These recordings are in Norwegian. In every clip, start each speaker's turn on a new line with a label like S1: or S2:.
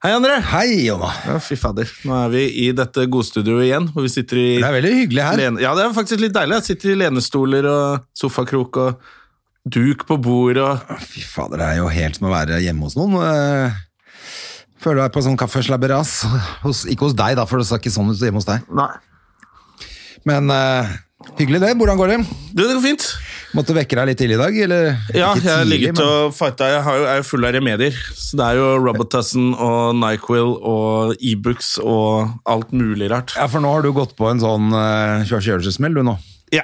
S1: Hei, André!
S2: Hei, Jonna.
S1: Ja, fy fader. Nå er vi i dette godstudioet igjen, hvor vi sitter i
S2: Det er veldig hyggelig her.
S1: lene... Ja, det er faktisk litt deilig. Jeg sitter i lenestoler og sofakrok og duk på bord og
S2: Fy fader, det er jo helt som å være hjemme hos noen. eh. Føler du deg på sånn kaffeslabberas. Hos, ikke hos deg, da, for det ser ikke sånn ut hjemme hos deg.
S1: Nei.
S2: Men eh, hyggelig det. Hvordan går det?
S1: Du, det går fint.
S2: Måtte vekke deg litt tidlig i dag? Eller,
S1: Ja,
S2: ikke
S1: jeg har
S2: tidlig,
S1: ligget
S2: men-
S1: og fighta. Jeg har jo- er jo full av remedier. Så det er jo Robitussin og Nyquil og Ibux og alt mulig rart.
S2: Ja, for nå har du gått på en sånn eh, kjørelsesmell, du nå.
S1: Ja.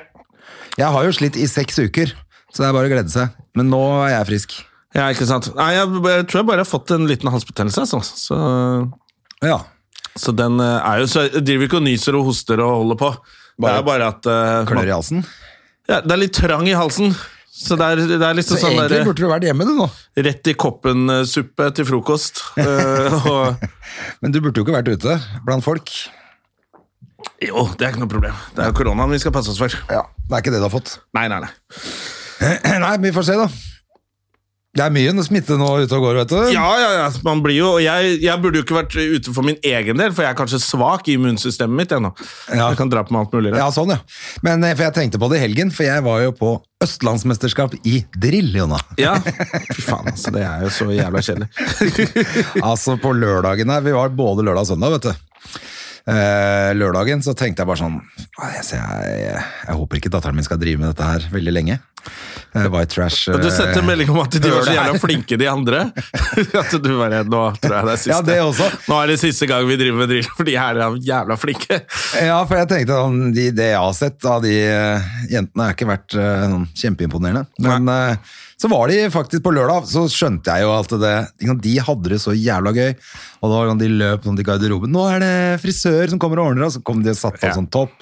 S2: Jeg har jo slitt i seks uker, så det er bare å glede seg. Men nå er jeg frisk.
S1: ja, ikke sant. Nei, jeg, jeg tror jeg bare har fått en liten halsbetennelse, altså. Så
S2: Ja.
S1: Så den eh, er jo så jeg driver ikke og nyser og hoster og holder på. det
S2: Bare
S1: er bare at eh,
S2: Klør
S1: man-
S2: i halsen.
S1: ja, Det er litt trang i halsen. Så det er, det er liksom
S2: Så
S1: sånn
S2: egentlig
S1: der,
S2: burde du vært hjemme, du nå.
S1: eh, rett i koppen-suppe til frokost. Eh, og,
S2: Men du burde jo ikke vært ute blant folk.
S1: jo, det er ikke noe problem. Det er jo koronaen vi skal passe oss for.
S2: Ja. Det er ikke det du har fått.
S1: Nei, nei, nei.
S2: Nei, men vi får se, da. Det er mye smitte nå ute og går, vet du.
S1: Ja, ja, ja. Man blir jo, og jeg, jeg burde jo ikke vært ute for min egen del, for jeg er kanskje svak i immunsystemet mitt ennå.
S2: Ja.
S1: Jeg kan dra på meg alt mulig. rart.
S2: Ja, sånn, ja. Men eh, for jeg tenkte på det i helgen, for jeg var jo på Østlandsmesterskap i drill, Jonna.
S1: Ja. Fy faen, altså. Det er jo så jævla kjedelig.
S2: Altså på lørdagen her, vi var både lørdag og søndag, vet du. Eh, lørdagen så tenkte jeg bare sånn «Å, jeg, ser- jeg, jeg håper ikke datteren min skal drive med dette her veldig lenge. Eh, white trash eh,
S1: Ja, Du sendte en melding om at de var så
S2: Hører det her.
S1: jævla flinke, de andre. At du bare Nå tror jeg det er siste.
S2: Ja, det også.
S1: Nå er det siste gang vi driver med drill, for de her er jævla flinke.
S2: Ja, for jeg tenkte sånn, de, Det jeg har sett av de eh, jentene, har ikke vært eh, sånn kjempeimponerende. Men eh, så var de faktisk på lørdag, så skjønte jeg jo alt det ikke sant, De hadde det så jævla gøy. Og da de løp sånn til garderoben. Nå er det frisør som kommer og ordner, og så kom de og satte på
S1: Ja.
S2: sånn topp.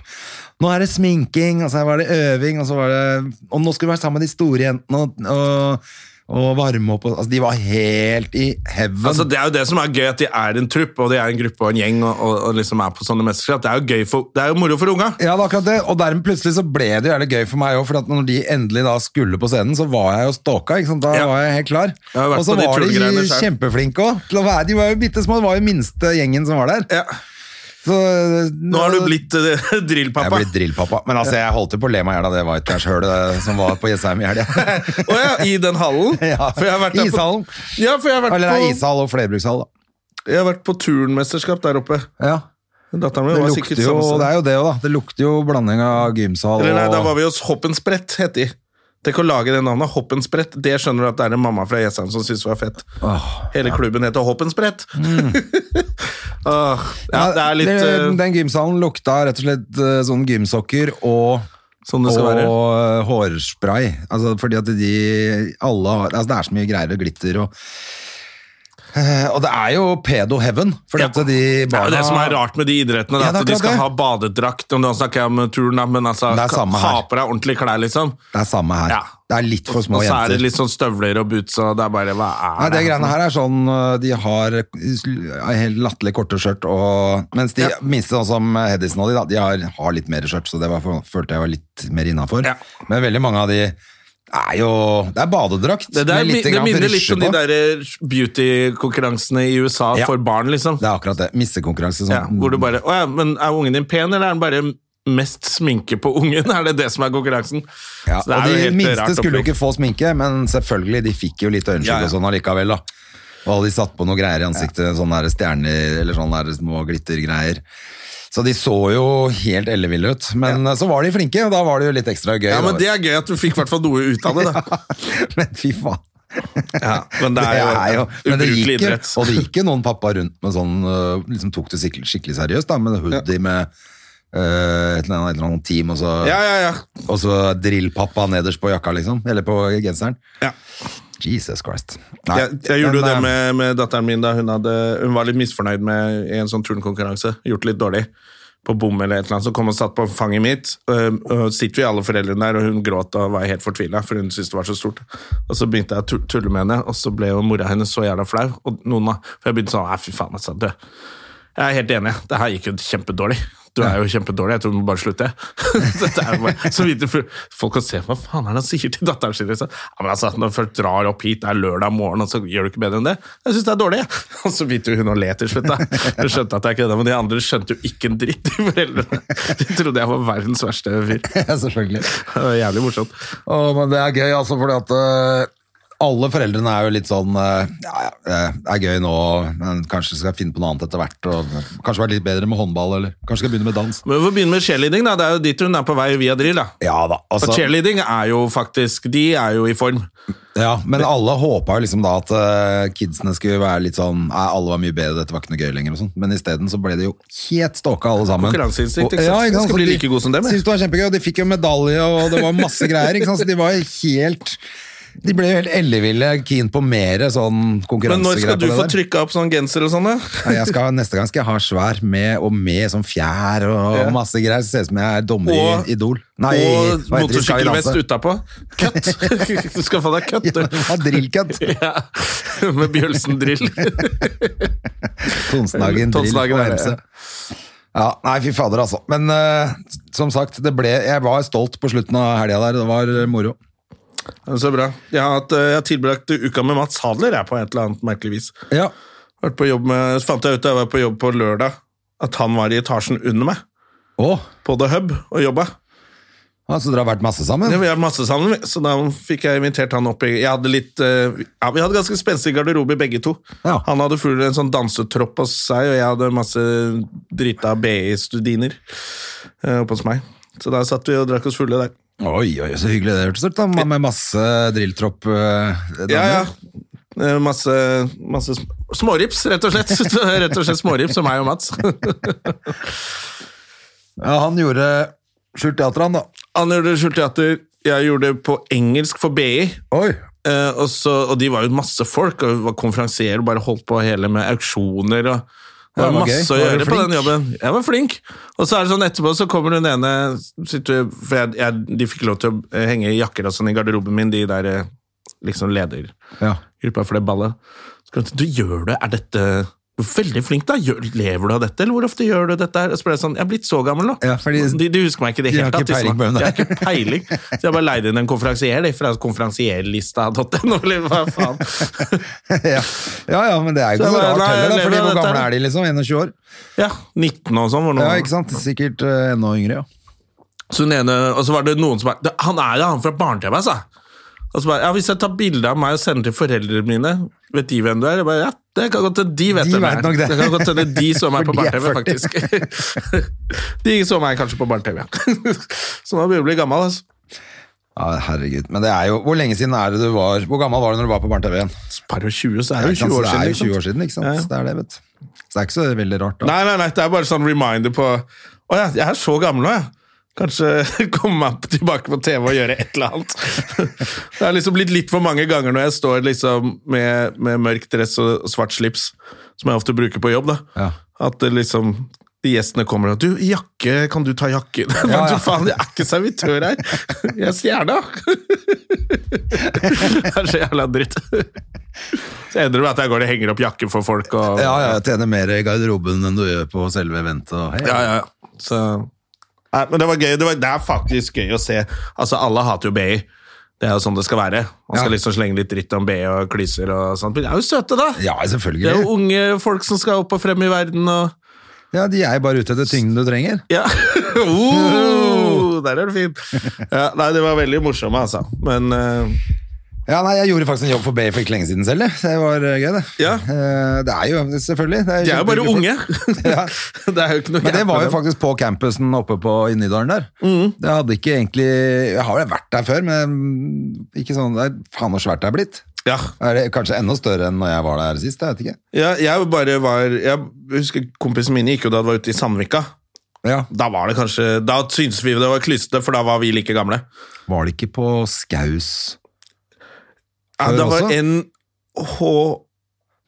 S2: Nå er det sminking, og så var det øving, og så var det Og nå skal vi være sammen med de store jentene. og... og og varme opp og, altså De var helt i heaven.
S1: Altså, det er jo det som er gøy, at de er en trupp, og de er en gruppe og en gjeng, og, og, og liksom er på sånne mesterskap. Det er jo gøy for, det er jo moro for unga.
S2: Ja, det er akkurat det. Og dermed plutselig så ble det jævlig gøy for meg òg. For at når de endelig da skulle på scenen, så var jeg jo stalka. ikke sant? Da
S1: Ja.
S2: var jeg helt klar.
S1: Jeg har vært
S2: Og så
S1: på de
S2: var de
S1: tullegreiene selv.
S2: kjempeflinke òg. De var jo bitte små. Det var jo minste gjengen som var der.
S1: Ja.
S2: Så,
S1: Nå har du blitt eh,
S2: jeg
S1: drillpappa.
S2: er blitt drillpappa. Men altså, jeg holdt jo på å le meg i hjel av det White Trash-hølet eh, som var på Jessheim i helga.
S1: Å ja, i den hallen?
S2: Ja,
S1: For jeg har vært der på,
S2: ishallen.
S1: ja, for jeg har vært,
S2: Eller nei,
S1: på,
S2: ishall og flerbrukshall, da.
S1: jeg har vært på turnmesterskap der oppe.
S2: Ja.
S1: Datteren
S2: Det
S1: min var
S2: lukter
S1: sikkert
S2: jo
S1: samme sted.
S2: Det er jo det òg, da. Det lukter jo blanding av gymsal
S1: Eller nei, da
S2: og
S1: var vi hos Hoppensbrett, het de. Tenk å lage det navnet, Hoppensbrett. Det skjønner du at det er en mamma fra Jessheim som syns var fett. Hele klubben heter Hoppensbrett.
S2: Mm.
S1: Åh, ja, det er litt
S2: Den-
S1: eh,
S2: Den gymsalen lukta rett og slett eh, sånn gymsokker og
S1: sånn det skal
S2: og
S1: være.
S2: eh, hårspray. Altså, fordi at de alle har altså, Det er så mye greier og glitter og Eh, Og det er jo pedo heaven, fordi
S1: Ja.
S2: at de
S1: Det er
S2: barna
S1: jo det som er rart med de idrettene,
S2: Ja, det er
S1: at de
S2: akkurat
S1: skal
S2: det.
S1: ha badedrakt. Om da snakker jeg om turen, da, men altså,
S2: Det er samme her.
S1: ha på deg ordentlige klær, liksom.
S2: Det er samme her.
S1: Ja.
S2: Det er litt for små
S1: Og så er
S2: jenter.
S1: det litt sånn støvler og boots, og det er bare Hva er
S2: Nei, det
S1: her for
S2: greiene
S1: noe?
S2: her er sånn eh, De har eh, helt latterlig korte skjørt, og, mens de
S1: Ja.
S2: minste, sånn som Hedison og de, da, de har, har litt mer skjørt, så det var, følte jeg var litt mer innafor.
S1: Ja.
S2: Men veldig mange av de er jo Det er badedrakt
S1: Det, der,
S2: med
S1: mi-
S2: lite
S1: det
S2: grann
S1: minner litt
S2: frysje
S1: om de
S2: på.
S1: der eh, beauty-konkurransene i USA
S2: Ja.
S1: for barn, liksom.
S2: Det er akkurat det. Missekonkurranse. Sånn.
S1: Ja, hvor du bare, «Å ja, men er ungen din pen, eller er den bare mest sminke på ungen? Er det det som er konkurransen?
S2: Ja,
S1: Så det
S2: og
S1: er jo
S2: de
S1: helt
S2: minste
S1: rart
S2: skulle jo
S1: opplegg.
S2: ikke få sminke, men selvfølgelig, de fikk jo litt øyenskygg
S1: Ja, ja.
S2: og sånn allikevel, da. Og alle de satt på noe greier i ansiktet, sånne der stjerner eller sånne der små glittergreier. Så de så jo helt elleville ut, men eh, så var de flinke, og da var det jo litt ekstra gøy.
S1: Ja,
S2: da,
S1: men Det er gøy at du fikk hvertfall noe ut av det. da.
S2: vet du. men fy faen.
S1: Ja, men det er jo,
S2: men det
S1: ubrukelig
S2: gikk, jo-
S1: idrett.
S2: Og det gikk jo noen pappa rundt med sånn, eh, liksom tok det skikkelig, skikkelig seriøst, da, med hoodie med eh, et eller annet, et eller annet team, og så,
S1: Ja, ja, ja.
S2: og så drillpappa nederst på jakka, liksom, eller på genseren.
S1: ja.
S2: Jesus Christ. Nei,
S1: jeg, jeg gjorde jo
S2: men,
S1: det
S2: eh,
S1: med, med datteren min da hun, hadde, hun var litt misfornøyd med en sånn turnkonkurranse. Gjort det litt dårlig på bom eller et eller annet. Så kom hun og satt på fanget mitt. øhm, Og sitter vi alle foreldrene der, og hun gråt og var helt fortvila, for hun syntes det var så stort. Og så begynte jeg å tu- tulle med henne, og så ble jo mora hennes så jævla flau. Og noen av, For jeg begynte sånn Nei, fy faen, altså. Du. Jeg er helt enig. Det her gikk jo kjempedårlig. Du er jo kjempedårlig. Jeg tror du må bare slutte. Dette er jo bare, så vidt du fu- Folk kan se hva faen er det han sier til datteren sin. liksom. Ja, men altså, Når folk drar opp hit, det er lørdag morgen, og så gjør du ikke bedre enn det. Jeg syns det er dårlig. jeg. Og så begynte jo hun å le til slutt. da. Hun skjønte at jeg kødda, men de andre skjønte jo ikke en dritt. De foreldrene. De trodde jeg var verdens verste fyr.
S2: Selvfølgelig.
S1: Det var jævlig morsomt.
S2: Åh, men det er gøy, altså, fordi at øh, alle foreldrene er jo litt sånn øh, Ja, ja, øh, det er gøy nå, men kanskje skal jeg finne på noe annet etter hvert. Og, kanskje være litt bedre med håndball, eller kanskje skal jeg begynne med dans.
S1: Men vi får begynne med cheerleading. da. Det er jo dit hun er på vei via drill. da.
S2: Ja da,
S1: Og
S2: altså.
S1: cheerleading er jo faktisk De er jo i form.
S2: Ja, men alle håpa jo liksom da at øh, kidsene skulle være litt sånn Nei, alle var mye bedre, dette var ikke noe gøy lenger og sånn. Men isteden så ble de jo helt ståka, alle sammen.
S1: Konkurranseinstinkt,
S2: Og-
S1: ikke sant?
S2: Ja, ikke sant? Så
S1: Skal bli
S2: de
S1: like god som dem, jeg.
S2: Synes det var kjempegøy, og de fikk jo medalje, og det var masse greier, ikke sant. Så de var jo helt De ble jo helt elleville keen på mere sånn konkurransegreier.
S1: Men når skal
S2: på
S1: du
S2: det
S1: få
S2: der.
S1: trykka opp sånn genser og sånn, da?
S2: Nei, jeg skal, neste gang skal jeg ha svær med, og med sånn fjær og
S1: Ja.
S2: masse greier. Så ser det ut som jeg er dommer
S1: Og-
S2: i Idol. Nei,
S1: og
S2: hva heter det? Skal vi danse?
S1: motorsykkelvest utapå. Køtt! Du skal få deg
S2: Ja,
S1: køtt, du.
S2: det var drillkøtt.
S1: Ja, med Bjølsen drill.
S2: Tonsdagen, drill
S1: Tonsdagen
S2: og
S1: er det.
S2: MC. E. Ja, nei, fy fader, altså. Men eh, som sagt, det ble, jeg var stolt på slutten av helga der. Det var eh, moro.
S1: Så bra. Jeg har, hatt, eh, jeg har tilbrakt uka med Mats Hadler jeg, på et eller annet merkelig vis.
S2: Ja.
S1: Vært på jobb med, så fant jeg ut da jeg var på jobb på lørdag, at han var i etasjen under meg,
S2: Å,
S1: på The Hub, og jobba.
S2: altså dere har vært masse sammen?
S1: Ja, vi har masse sammen, så da fikk jeg invitert han opp. i- Jeg hadde litt, eh, ja, vi hadde ganske spenstig garderobe begge to.
S2: Ja.
S1: Han hadde full en sånn dansetropp hos seg, og jeg hadde masse drita BI-studiner eh, oppe hos meg. Så da satt vi og drakk oss fulle der.
S2: Oi, oi, så hyggelig det hørtes ut, da. Med masse drilltropp. eh, damer.
S1: Ja, ja. Eh, Masse, masse sm- smårips, rett og slett. rett og slett smårips som meg og Mats.
S2: ja. Han gjorde skjult teater, han, da.
S1: Han gjorde skjult teater, jeg gjorde det på engelsk for BI.
S2: Oi.
S1: Eh, og, så, og de var jo masse folk, og var konferansierer og bare holdt på hele med auksjoner. og
S2: Ja,
S1: det var
S2: det var
S1: masse
S2: gøy. Var du
S1: å gjøre på den
S2: flink?
S1: jobben. Jeg var flink. Og så er det sånn etterpå så kommer hun ene sitter, For jeg, jeg, de fikk lov til å eh, henge i jakker og sånn i garderoben min, de der eh, liksom ledergruppa
S2: Ja.
S1: for det ballet. Så kom hun til, du gjør det, er dette Veldig flink, da. Gjør, lever du av dette, eller hvor ofte gjør du dette? her? Og så ble jeg sånn, jeg er blitt så gammel nå.
S2: Ja, fordi-
S1: de, de husker meg ikke i det
S2: De
S1: hele
S2: har
S1: tatt.
S2: ikke peiling på hvem det
S1: Jeg
S2: er.
S1: har ikke peiling. Så jeg bare leide inn en konferansier de, fra konferansierlista.no, eller hva faen.
S2: ja. ja, ja, men det er jo ikke
S1: Så jeg
S2: så
S1: bare,
S2: rart
S1: nei, jeg
S2: heller, da, fordi
S1: lever av
S2: hvor
S1: dette
S2: gamle
S1: her.
S2: er de, liksom? 21 år?
S1: Ja, 19 og sånn. var noe.
S2: Ja, ikke sant? Sikkert eh, enda yngre, ja.
S1: Så den ene, og så var det noen som bare «Det- Han er jo han fra barne-TV, altså! Og så bare, ja, Hvis jeg tar bilde av meg og sender til foreldrene mine, vet de hvem du er? Jeg bare, ja, det kan godt hende de vet
S2: De
S1: hvem jeg
S2: vet
S1: er.
S2: nok det.
S1: kan godt hende de så meg på
S2: For de er
S1: barne-TV,
S2: 40.
S1: faktisk. de så meg kanskje på barne-TV, ja. så nå begynner jeg å bli gammel, altså.
S2: ja. Herregud. Men det er jo Hvor lenge siden er det du var Hvor gammel var du når du var på Barne-TV igjen?
S1: Par og 20, så
S2: Ja,
S1: er det
S2: ikke sant?
S1: jo 20
S2: Så
S1: år
S2: det
S1: siden.
S2: er
S1: liksom.
S2: jo 20
S1: ikke sant?
S2: år siden, ikke sant?
S1: Ja, ja.
S2: Så Det er det, vet du. Så det er ikke så veldig rart, da.
S1: Nei, nei, nei, det er bare sånn reminder på Å ja, jeg er så gammel nå, jeg. Kanskje komme meg tilbake på TV og gjøre et eller annet. Det har liksom blitt litt for mange ganger når jeg står liksom med, med mørk dress og svart slips, som jeg ofte bruker på jobb, da.
S2: Ja.
S1: At det liksom de gjestene kommer og 'Du, jakke, kan du ta jakken?' Men
S2: ja.
S1: du faen, jeg er ikke servitør her! Jeg er stjerna! Det er så jævla dritt. Så ender det med at jeg går og henger opp jakke for folk og
S2: Ja, ja, jeg tjener mer i garderoben enn du gjør på selve eventet. og hei.
S1: Ja, ja, ja. Så... Nei, men det var gøy. Det, var, det er faktisk gøy å se. Altså, alle hater jo BI. Det er jo sånn det skal være. Man skal
S2: Ja.
S1: liksom slenge litt dritt om BI og klyser og sånt. Men de er jo søte, da!
S2: Ja,
S1: Det er
S2: selvfølgelig.
S1: jo unge folk som skal opp og frem i verden og
S2: Ja, De er jo bare ute etter tyngden du trenger.
S1: Ja! oh, der er det fint! Ja, nei, de var veldig morsomme, altså. Men eh,
S2: Ja, nei, Jeg gjorde faktisk en jobb for Bay for ikke lenge siden selv. jeg. Det var eh, gøy, det.
S1: Ja.
S2: Eh, Det er jo selvfølgelig
S1: de er jo bare
S2: kjempehyggelige
S1: unge!
S2: folk. Ja.
S1: det er jo ikke noe
S2: Men det
S1: gærent
S2: var
S1: med
S2: jo
S1: dem.
S2: faktisk på campusen oppe på i Nydalen der.
S1: Mm.
S2: Det hadde ikke egentlig Jeg har jo vært der før, men ikke sånn der. Faen, så svært det er blitt.
S1: ja.
S2: Er det kanskje enda større enn når jeg var der sist? Jeg vet ikke.
S1: ja, jeg bare var Jeg husker kompisen min gikk jo da det var ute i Sandvika.
S2: Ja.
S1: Da var det kanskje Da syntes vi det var klysete, for da var vi like gamle.
S2: Var det ikke på Skaus?
S1: Ja,
S2: Før
S1: det var
S2: også?
S1: NH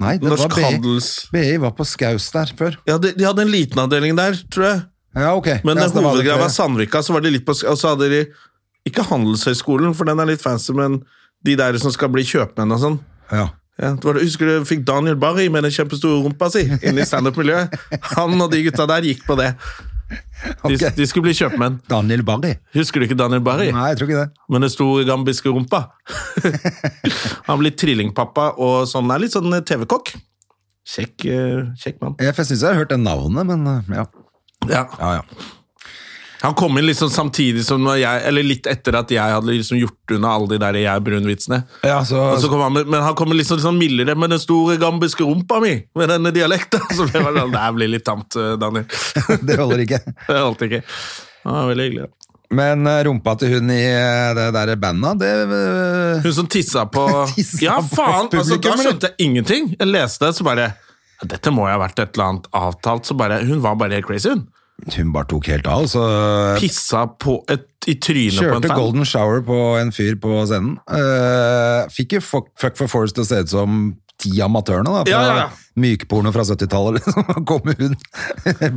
S2: Nei, det
S1: Norsk
S2: var BI.
S1: Handels
S2: BI E var på Skaus der før.
S1: ja, de, de hadde en liten avdeling der, tror jeg.
S2: Ja, ok.
S1: Men
S2: ja,
S1: ja,
S2: så da var det E.
S1: hovedgreia var
S2: flere.
S1: Sandvika, så var det litt på Og så hadde de ikke Handelshøyskolen, for den er litt fancy, men de der som skal bli kjøpmenn og sånn.
S2: Ja.
S1: Ja, det var det, husker du fikk Daniel Barry med den kjempestore rumpa si inn i standup-miljøet? Han og de gutta der gikk på det. De,
S2: Ok.
S1: de skulle bli kjøpmenn.
S2: Daniel Barry.
S1: Husker du ikke Daniel Barry?
S2: Nei, jeg tror ikke det.
S1: Men den store gambiske rumpa. Han blir trillingpappa og sånn er litt sånn TV-kokk. Kjekk, eh, kjekk mann.
S2: Jeg syns jeg har hørt det navnet, men eh, ja.
S1: Ja.
S2: ja, ja.
S1: Han kom inn liksom samtidig som når jeg, eller litt etter at jeg hadde liksom gjort unna alle de der jeg brun-vitsene.
S2: Ja, så,
S1: Og så kom han med, men han kom liksom, liksom mildere med den store gambiske rumpa mi, med denne dialekten. Så ble jeg bare sånn, det her blir litt tamt, eh, Daniel.
S2: Det holder ikke.
S1: Det holdt ikke. Han var veldig hyggelig. da.
S2: Men eh, rumpa til hun i eh, det der bandet, det eh,
S1: Hun som tissa på
S2: Tissa
S1: Ja,
S2: på
S1: faen! Altså, da
S2: publikum, eller?
S1: skjønte jeg ingenting. Jeg leste det, så bare ja, Dette må jo ha vært et eller annet avtalt. Så bare, Hun var bare helt crazy, hun.
S2: Hun bare tok helt av, så eh,
S1: Pissa på et, i trynet på en
S2: kjørte
S1: fan.
S2: golden shower på en fyr på scenen. Eh, fikk jo fuck, fuck for Forest til å se ut som ti amatørene, da. Fra
S1: Ja, ja, ja.
S2: Mykporno fra 70-tallet, liksom. Kom hun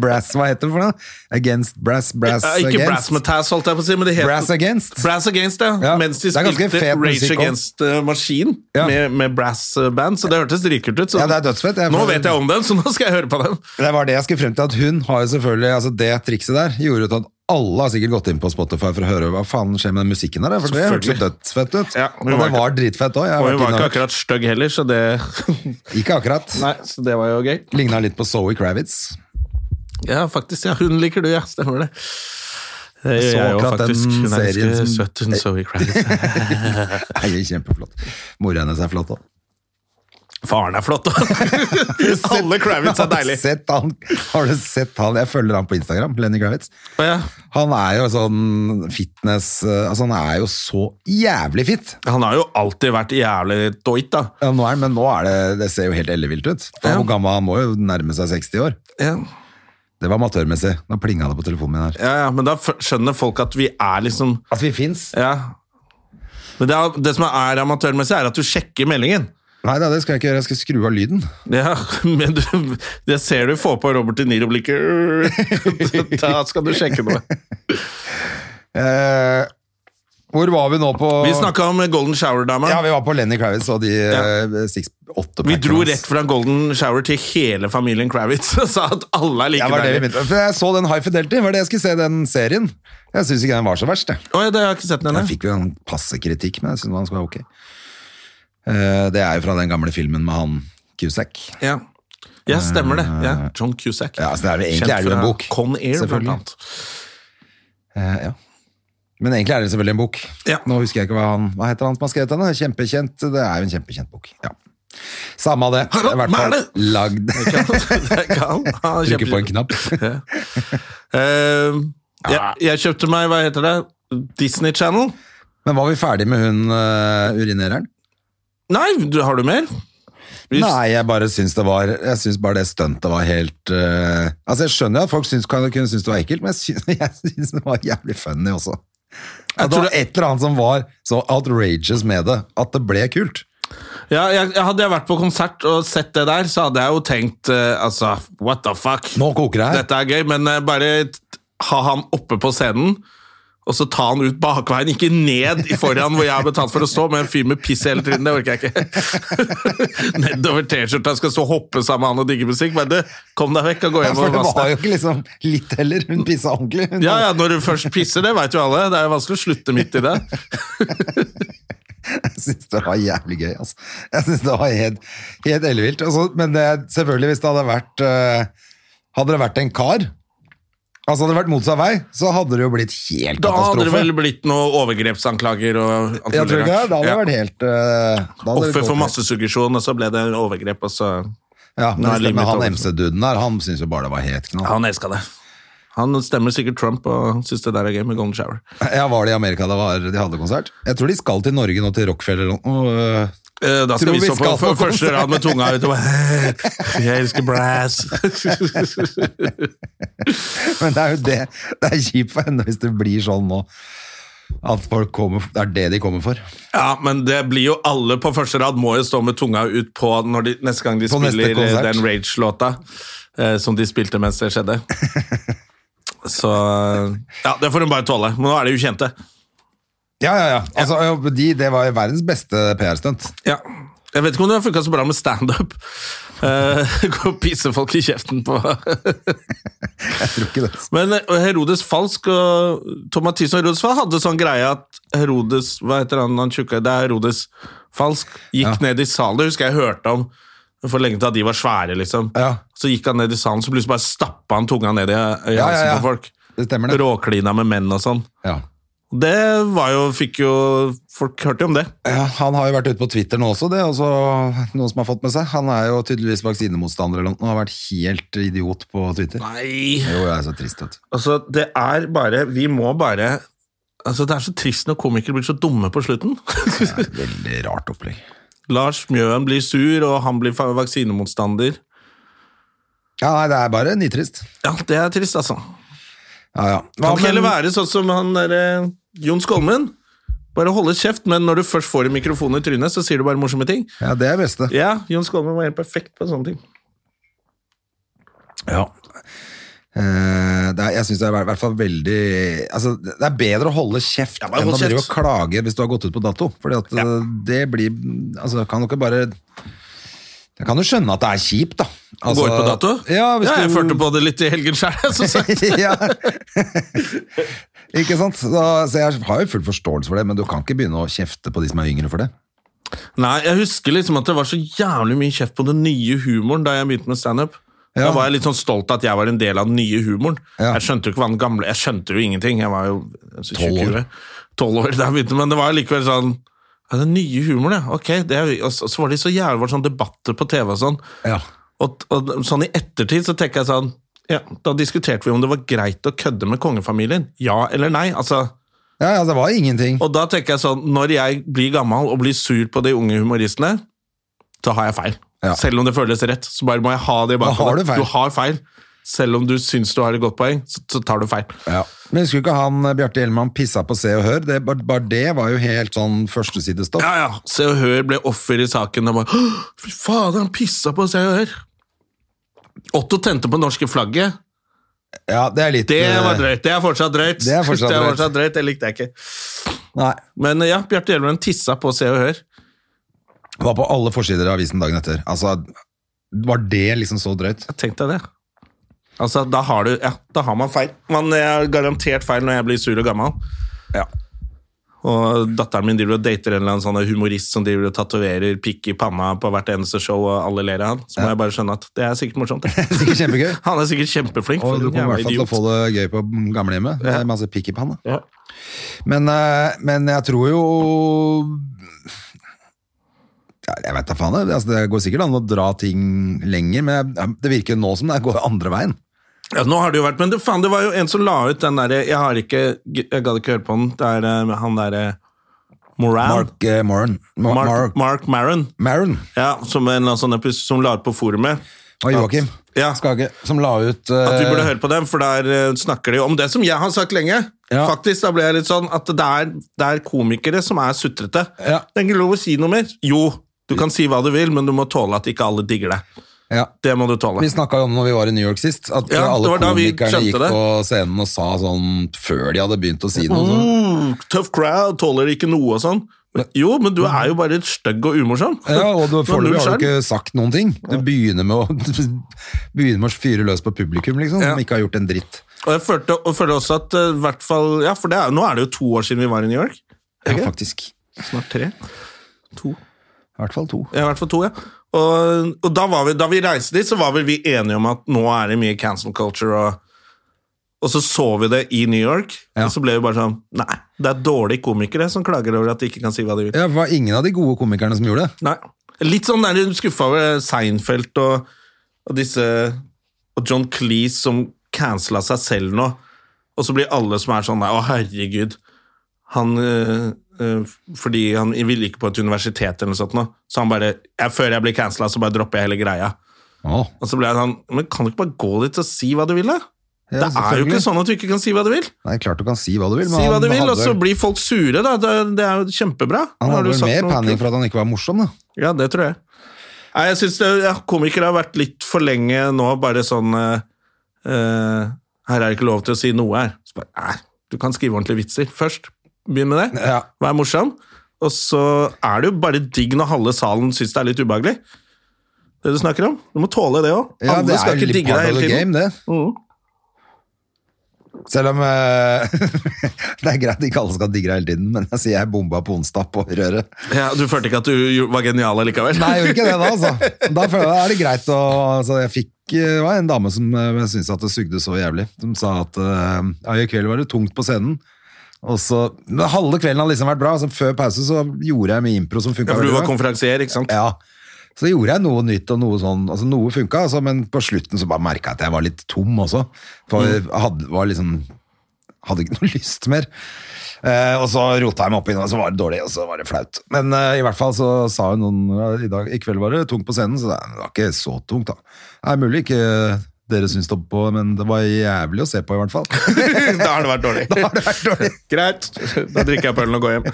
S2: Brass, hva heter det for noe? Against Brass, Brass
S1: Ja, ikke
S2: Against.
S1: Brass Metass, holdt jeg på å si, men det het
S2: Brass Against.
S1: Brass Against, ja.
S2: Ja,
S1: Mens de
S2: det er ganske
S1: spilte
S2: fet
S1: Rage
S2: musikk også.
S1: Against eh, Machine
S2: Ja.
S1: med, med brassband, så det hørtes dritkult ut. Så
S2: Ja, det er dødsfett. Jeg-
S1: nå vet jeg om dem, så nå skal jeg høre på dem.
S2: Det var det jeg skulle frem til, at hun har jo selvfølgelig altså Det trikset der gjorde jo at alle har sikkert gått inn på Spotify for å høre hva faen skjer med den musikken der, for det hørtes jo dødsfett ut.
S1: Ja,
S2: og
S1: men
S2: det
S1: hun var
S2: var dritfett òg.
S1: Og hun var ikke akkurat stygg heller, så det
S2: Ikke akkurat.
S1: Nei, så det var jo gøy.
S2: Ligna litt på Zoe Kravitz.
S1: Ja, faktisk. ja, Hun liker du, ja. Stemmer det. Det
S2: Jeg så
S1: gjør jeg jo,
S2: akkurat den
S1: faktisk. Hun er
S2: serien
S1: ganske
S2: som-
S1: søt, hun Zoe Kravitz.
S2: Nei, kjempeflott. Mora hennes er flott òg.
S1: Faren er flott, da! Alle Kravitz er deilig.
S2: Har du, sett han, har du sett han? Jeg følger han på Instagram, Lenny Kravitz.
S1: Ja,
S2: Han er jo sånn fitness Altså, han er jo så jævlig fit.
S1: han har jo alltid vært jævlig doit, da.
S2: Ja, nå er, han- men nå er det Det ser jo helt ellevilt ut. For
S1: Ja.
S2: Hvor gammel han må jo nærme seg 60 år.
S1: Ja.
S2: Det var amatørmessig. Nå plinga det på telefonen min her.
S1: Ja, ja, men da f- skjønner folk at vi er liksom
S2: At vi fins?
S1: Ja. Men det, er, det som er amatørmessig, er at du sjekker meldingen.
S2: Nei da, det skal jeg ikke gjøre. Jeg skal skru av lyden.
S1: Ja, men du, det ser du får på Robert De Niro-blikket. Da skal du sjekke noe.
S2: Eh, hvor var vi nå på
S1: Vi snakka om Golden Shower-dama.
S2: Ja, vi var på Lenny Kravitz og de
S1: Ja.
S2: eh, six, åtte
S1: Vi
S2: packene
S1: dro
S2: hans.
S1: rett fra Golden Shower til hele familien Kravitz og sa at alle er
S2: ja,
S1: like
S2: var det vi
S1: deilige.
S2: begynte. For jeg så den High Fidelity, var det jeg skulle se den serien. Jeg syns ikke den var så verst, jeg.
S1: Å, ja, det har jeg ikke sett den
S2: Jeg
S1: ennå.
S2: fikk jo en passe kritikk, men jeg syns den skulle være ok. Eh, det er jo fra den gamle filmen med han Cusack.
S1: Ja. ja, stemmer det. Ja, John Cusack.
S2: Ah. Ja, så det er vel- egentlig er det jo en bok,
S1: Con Air, blant
S2: selvfølgelig.
S1: annet.
S2: Eh, ja. Men egentlig er det selvfølgelig en bok.
S1: Ja.
S2: Nå husker jeg ikke hva han Hva heter han som har skrevet den? da? Kjempekjent. Det er jo en kjempekjent bok. Ja. Samme av det. Det er i hvert fall
S1: Merle!
S2: lagd
S1: Det kan- det kan. Han er
S2: Trykker på en
S1: kjempe-
S2: knapp.
S1: Eh, jeg, jeg kjøpte meg, hva heter det? Disney Channel?
S2: Men var vi ferdig med hun eh, urinereren?
S1: Nei, du, har du mer? Hvis-
S2: Nei, jeg bare syns det var Jeg syns bare det stuntet var helt eh, Altså, jeg skjønner jo at folk syns, kan, kunne synes det var ekkelt, men jeg syns, jeg syns det var jævlig funny også. At det
S1: tror
S2: var et eller annet som var så outrageous med det, at det ble kult.
S1: Ja, jeg, jeg hadde jeg vært på konsert og sett det der, så hadde jeg jo tenkt eh, Altså, what the fuck?
S2: Nå koker det her.
S1: Dette er gøy, men eh, bare t- ha han oppe på scenen, og så ta han ut bakveien, ikke ned i foran hvor jeg har betalt for å stå, med en fyr med piss i hele trynet, det orker jeg ikke. Nedover T-skjorta skal stå og hoppe sammen med han og digge musikk. Men du, kom deg vekk og gå
S2: Ja,
S1: hjem
S2: for
S1: og
S2: det
S1: vask
S2: var
S1: deg.
S2: jo ikke liksom litt heller. Hun pissa ordentlig. Hun
S1: Ja, ja, når du først pisser, det veit jo alle. Det er jo vanskelig å slutte midt i det.
S2: Jeg syns det var jævlig gøy, altså. Jeg syns det var helt, helt ellevilt. Og så- men det, selvfølgelig, hvis det hadde vært eh, Hadde det vært en kar Altså hadde det vært motsatt vei, så hadde det jo blitt helt
S1: Da hadde det
S2: katastrofe.
S1: vel blitt noen overgrepsanklager og
S2: Jeg
S1: alt
S2: tror
S1: mulig
S2: ikke det,
S1: rart.
S2: da hadde det vært helt eh, da hadde det
S1: Offer
S2: gått
S1: for
S2: helt.
S1: massesuggesjon, og så ble det en overgrep, og så
S2: Ja,
S1: Nå er
S2: men
S1: livet
S2: stemmer,
S1: mitt
S2: han
S1: over.
S2: MC-duden der, han syns jo bare det var helt knall.
S1: Han elska det. Han stemmer sikkert Trump og syns det der er gøy med Golden Shower.
S2: Ja, Var det i Amerika det var, de hadde konsert? Jeg tror de skal til Norge nå, til Rockefeller eller noe. øh,
S1: Eh, Da skal
S2: Tror
S1: vi
S2: vi
S1: stå på
S2: skal på
S1: f- første rad med tunga ut og bare Jeg elsker brass!
S2: Men det er jo det. Det er kjipt for henne hvis det blir sånn nå. At folk kommer, det er det de kommer for.
S1: Ja, men det blir jo alle på første rad må jo stå med tunga ut på når de, neste gang de
S2: På neste
S1: spiller eh,
S2: konsert.
S1: den Rage-låta eh, som de spilte mens det skjedde. Så eh, Ja, det får hun bare tåle. Men nå er det ukjente.
S2: Ja, ja, ja. Altså, ja, de, det var verdens beste PR-stunt.
S1: Ja. Jeg vet ikke om det har funka så bra med standup. Uh, gå og pisse folk i kjeften på
S2: Jeg tror ikke det.
S1: Men eh, Herodes Falsk og Tomatis og Herodes Falsk hadde sånn greie at Herodes Hva heter han han tjukke? Det er Herodes Falsk. Gikk
S2: Ja.
S1: ned i salen. Det husker jeg hørte om for lenge til at de var svære, liksom.
S2: Ja.
S1: Så gikk han ned i salen, så plutselig bare stappa han tunga ned i, i halsen
S2: Ja, ja, ja.
S1: på folk.
S2: Det stemmer, det.
S1: Råklina med menn og sånn.
S2: Ja.
S1: Det var jo Fikk jo Folk hørte jo om det.
S2: Ja, han har jo vært ute på Twitter nå også, det er også noen som har fått med seg. Han er jo tydeligvis vaksinemotstander eller noe, og har vært helt idiot på Twitter.
S1: Nei!
S2: Jo, jeg er så trist, vet du.
S1: Altså, det er bare Vi må bare Altså, Det er så trist når komikere blir så dumme på slutten.
S2: Veldig rart opplegg.
S1: Lars Mjøen blir sur, og han blir fa- vaksinemotstander.
S2: Ja, nei, det er bare nitrist.
S1: Ja, det er trist, altså.
S2: Ja, ja.
S1: Kan ikke heller
S2: men-
S1: være sånn som han derre Jon Skolmen. Bare holde kjeft, men når du først får en mikrofon i trynet, så sier du bare morsomme ting.
S2: Ja, det er beste.
S1: Ja, Jon Skolmen var helt perfekt på sånne ting.
S2: Ja. Eh, det er, jeg synes det er i hvert fall veldig altså, Det er bedre å holde kjeft
S1: bare
S2: enn
S1: hold
S2: å drive og
S1: kjeft.
S2: klage hvis du har gått ut på dato. Fordi at eh, det blir altså, Kan du ikke bare Jeg kan jo skjønne at det er kjipt, da. Altså,
S1: Går ut på dato?
S2: Ja, hvis
S1: jeg
S2: du,
S1: følte på det litt i helgen sjøl.
S2: ja. ikke sant? Så, så jeg har jo full forståelse for det, men du kan ikke begynne å kjefte på de som er yngre for det.
S1: Nei, jeg husker liksom at det var så jævlig mye kjeft på den nye humoren da jeg begynte med standup. Da
S2: Ja.
S1: var jeg litt sånn stolt at jeg var en del av den nye humoren.
S2: Ja.
S1: Jeg skjønte jo ikke hva den gamle Jeg skjønte jo ingenting. Jeg var jo altså,
S2: Tolv år.
S1: 20, 12 år da jeg begynte, men det var likevel sånn ja, Den nye humoren, ja. Ok. Det er, jo- og så og så var det så jævlig var sånn debatter på TV og sånn.
S2: Ja.
S1: Og, og sånn i ettertid så tenker jeg sånn ja, Da diskuterte vi om det var greit å kødde med kongefamilien. Ja eller nei? altså...
S2: Ja, ja, det var ingenting.
S1: Og da tenker jeg sånn, når jeg blir gammel og blir sur på de unge humoristene, så har jeg feil.
S2: Ja.
S1: Selv om det føles rett, så bare må jeg ha det i
S2: Da har
S1: bakhodet.
S2: du feil.
S1: har feil. Selv om du syns du har et godt poeng, så, så tar du feil.
S2: Ja. Men husker du ikke han eh, Bjarte Hjelmann pissa på Se og Hør? Det, bare, bare det var jo helt sånn førstesidestoff.
S1: Ja, ja. Se og Hør ble offer i saken. Og bare, «Åh, Fy fader, han pissa på Se og Hør! Otto tente på norske flagget.
S2: Ja, det er litt
S1: Det
S2: eh,
S1: var drøyt. Det er fortsatt drøyt.
S2: Det er fortsatt
S1: det,
S2: drøyt.
S1: drøyt. det likte jeg ikke.
S2: Nei.
S1: Men ja, Bjarte Hjelmen tissa på Se og Hør.
S2: Var på alle forsider av avisen dagen etter. Altså, var det liksom så drøyt?
S1: Tenk deg det. Altså, da har du Ja, da har man feil. Man er garantert feil når jeg blir sur og gammel.
S2: Ja.
S1: Og datteren min driver og dater en eller annen sånn humorist som driver og tatoverer pikk i panna på hvert eneste show, og alle ler av han. Så må jeg bare skjønne at det er sikkert morsomt. det.
S2: Sikkert kjempegøy.
S1: Han er sikkert kjempeflink.
S2: Og
S1: for
S2: du
S1: en
S2: kommer i hvert
S1: jævla
S2: fall til å
S1: idiot.
S2: få det gøy på gamlehjemmet. Det er masse pikk i panna.
S1: Ja.
S2: Men, eh, men jeg tror jo ja, Jeg vet da faen. Det, altså, det går sikkert an å dra ting lenger, men jeg- ja, det virker jo nå som det går andre veien.
S1: Ja, nå har det jo vært, men det, faen, det var jo en som la ut den derre Jeg har ikke Jeg gadd ikke høre på den. Det er eh, han derre Moran.
S2: Mark eh, Maron. Ma-
S1: Mark,
S2: Mark,
S1: Mark Maron.
S2: Maron
S1: Ja, som, en, eller annen sånn epis- som la ut på forumet.
S2: og Joakim
S1: Ja.
S2: Skage, som la ut eh,
S1: At vi burde høre på dem, for der eh, snakker de jo om det som jeg har sagt lenge.
S2: Ja.
S1: Faktisk, da ble jeg litt sånn at det er, det er komikere som er sutrete.
S2: Ja.
S1: Det er ikke lov å si noe mer. Jo, du kan si hva du vil, men du må tåle at ikke alle digger deg.
S2: ja.
S1: Det må du tåle.
S2: Vi snakka jo om når vi var i New York sist, at
S1: Ja,
S2: alle
S1: det var da vi
S2: komikerne
S1: skjønte
S2: gikk
S1: det.
S2: på scenen og sa sånn før de hadde begynt å si noe. sånn.
S1: Mm, Tough crowd, tåler ikke noe og sånn. Jo, men du er jo bare litt stygg og umorsom.
S2: Ja, og du,
S1: Du har null
S2: foreløpig har du
S1: sjarm.
S2: ikke sagt noen ting. Du begynner med å, begynner med å fyre løs på publikum, liksom,
S1: Ja.
S2: som ikke har gjort en dritt.
S1: Og jeg følte, og føler også at eh, hvert fall Ja, for det er, nå er det jo to år siden vi var i New York.
S2: Ja,
S1: Ikke?
S2: faktisk.
S1: Snart tre. To.
S2: I hvert fall to.
S1: Ja, i hvert fall to, ja. Og, og da, var vi, da vi reiste dit, så var vel vi enige om at nå er det mye cancel culture, og, og så så vi det i New York,
S2: Ja.
S1: og så ble vi bare sånn Nei, det er dårlige komikere som klager over at de ikke kan si hva de vil.
S2: Ja, det var ingen av de gode komikerne som gjorde det.
S1: Nei. Litt sånn der skuffa over Seinfeld og, og disse Og John Cleese som cancela seg selv nå, og så blir alle som er sånn Nei, å herregud. Han øh, øh, Fordi han ville ikke på et universitet eller noe sånt nå, så han bare jeg, Før jeg blir cancela, så bare dropper jeg hele greia.
S2: Åh.
S1: Og så ble jeg sånn Men kan du ikke bare gå dit og si hva du vil, da?
S2: Ja,
S1: Det er jo
S2: selvfølgelig.
S1: ikke sånn at du ikke kan si hva du vil.
S2: Nei, klart du kan si hva du vil. men
S1: Si hva
S2: han
S1: du vil,
S2: hadde
S1: og så
S2: vel-
S1: blir folk sure, da. Det, det er jo kjempebra.
S2: Han
S1: Har
S2: hadde
S1: du
S2: vel
S1: sagt
S2: mer
S1: noe
S2: panikk
S1: kult?
S2: for at han ikke var morsom, da.
S1: Ja, det tror jeg. Nei, jeg syns ja, komikere har vært litt for lenge nå, bare sånn eh, eh, Her er det ikke lov til å si noe her. Så bare, nei, du kan skrive ordentlige vitser først. Begynn med det.
S2: Ja.
S1: Vær morsom. Og så er det jo bare digg når halve salen syns det er litt ubehagelig. Det du snakker om. Du må tåle det òg.
S2: Ja, det
S1: Alle
S2: er
S1: skal
S2: jo
S1: ikke
S2: litt
S1: digge
S2: part
S1: deg
S2: of
S1: hele
S2: the
S1: tiden.
S2: game, det.
S1: Mhm.
S2: Selv om eh, Det er greit ikke alle skal digge deg hele tiden, men jeg sier jeg bomba på onsdag på røret.
S1: Ja, du følte ikke at du jo- var genial likevel?
S2: Nei, jeg gjorde ikke det da, altså. Da føler jeg det er det greit å altså, Jeg fikk eh, det var en dame som eh, syntes at det sugde så jævlig. Som sa at eh, ja, i kveld var det tungt på scenen. Og så, men Halve kvelden hadde liksom vært bra. Altså, før pause så gjorde jeg mye impro som funka.
S1: Ja, for du var konferansier, ikke sant?
S2: Ja. Så gjorde jeg noe nytt og noe sånn, altså noe funka, altså, men på slutten så bare merka jeg at jeg var litt tom også. For jeg hadde, var liksom, hadde ikke noe lyst mer. Eh, og så rota jeg meg opp i noe, og så var det dårlig, og så var det flaut. Men eh, i hvert fall så sa jo noen ja, i, dag, i kveld var det tungt på scenen, så det var ikke så tungt, da. Det er mulig ikke dere syns det var på, men det var jævlig å se på, i hvert fall.
S1: da har det vært dårlig.
S2: da har det vært dårlig.
S1: Greit, da drikker jeg pølen og går hjem.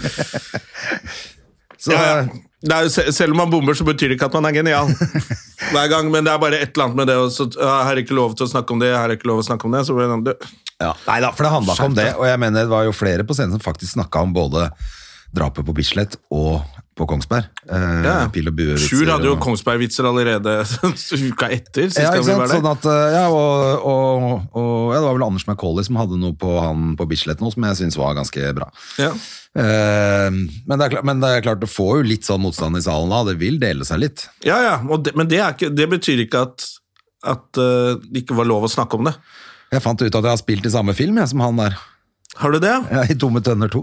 S2: Så, eh,
S1: Ja, ja. Det er jo, se- selv om man bomber, så betyr det ikke at man er genial. Hver gang, Men det er bare et eller annet med det. Og så, ja, her er ikke lov til å snakke om det, her er ikke lov å snakke om det. Så blir det sånn, du-
S2: Ja. Nei da, for det handla ikke om det. Og jeg mener det var jo flere på scenen som faktisk snakka om både drapet på Bislett og på Kongsberg. Eh,
S1: Ja.
S2: Pil og bue
S1: Sjur hadde jo Kongsberg-vitser allerede uka etter. Sist
S2: ja,
S1: gang
S2: ikke
S1: vi var
S2: sant?
S1: der.
S2: Sånn at, eh, ja, og, og, og ja, det var vel Anders Macauley som hadde noe på han på Bislett nå, som jeg syns var ganske bra.
S1: Ja.
S2: Eh, men, det er klart, men det er klart, det får jo litt sånn motstand i salen da. Det vil dele seg litt.
S1: ja, ja, og det, Men det, er ikke, det betyr ikke at, at eh, det ikke var lov å snakke om det.
S2: Jeg fant ut at jeg har spilt i samme film jeg, som han der.
S1: Har du det?
S2: Ja, I Tomme tønner 2.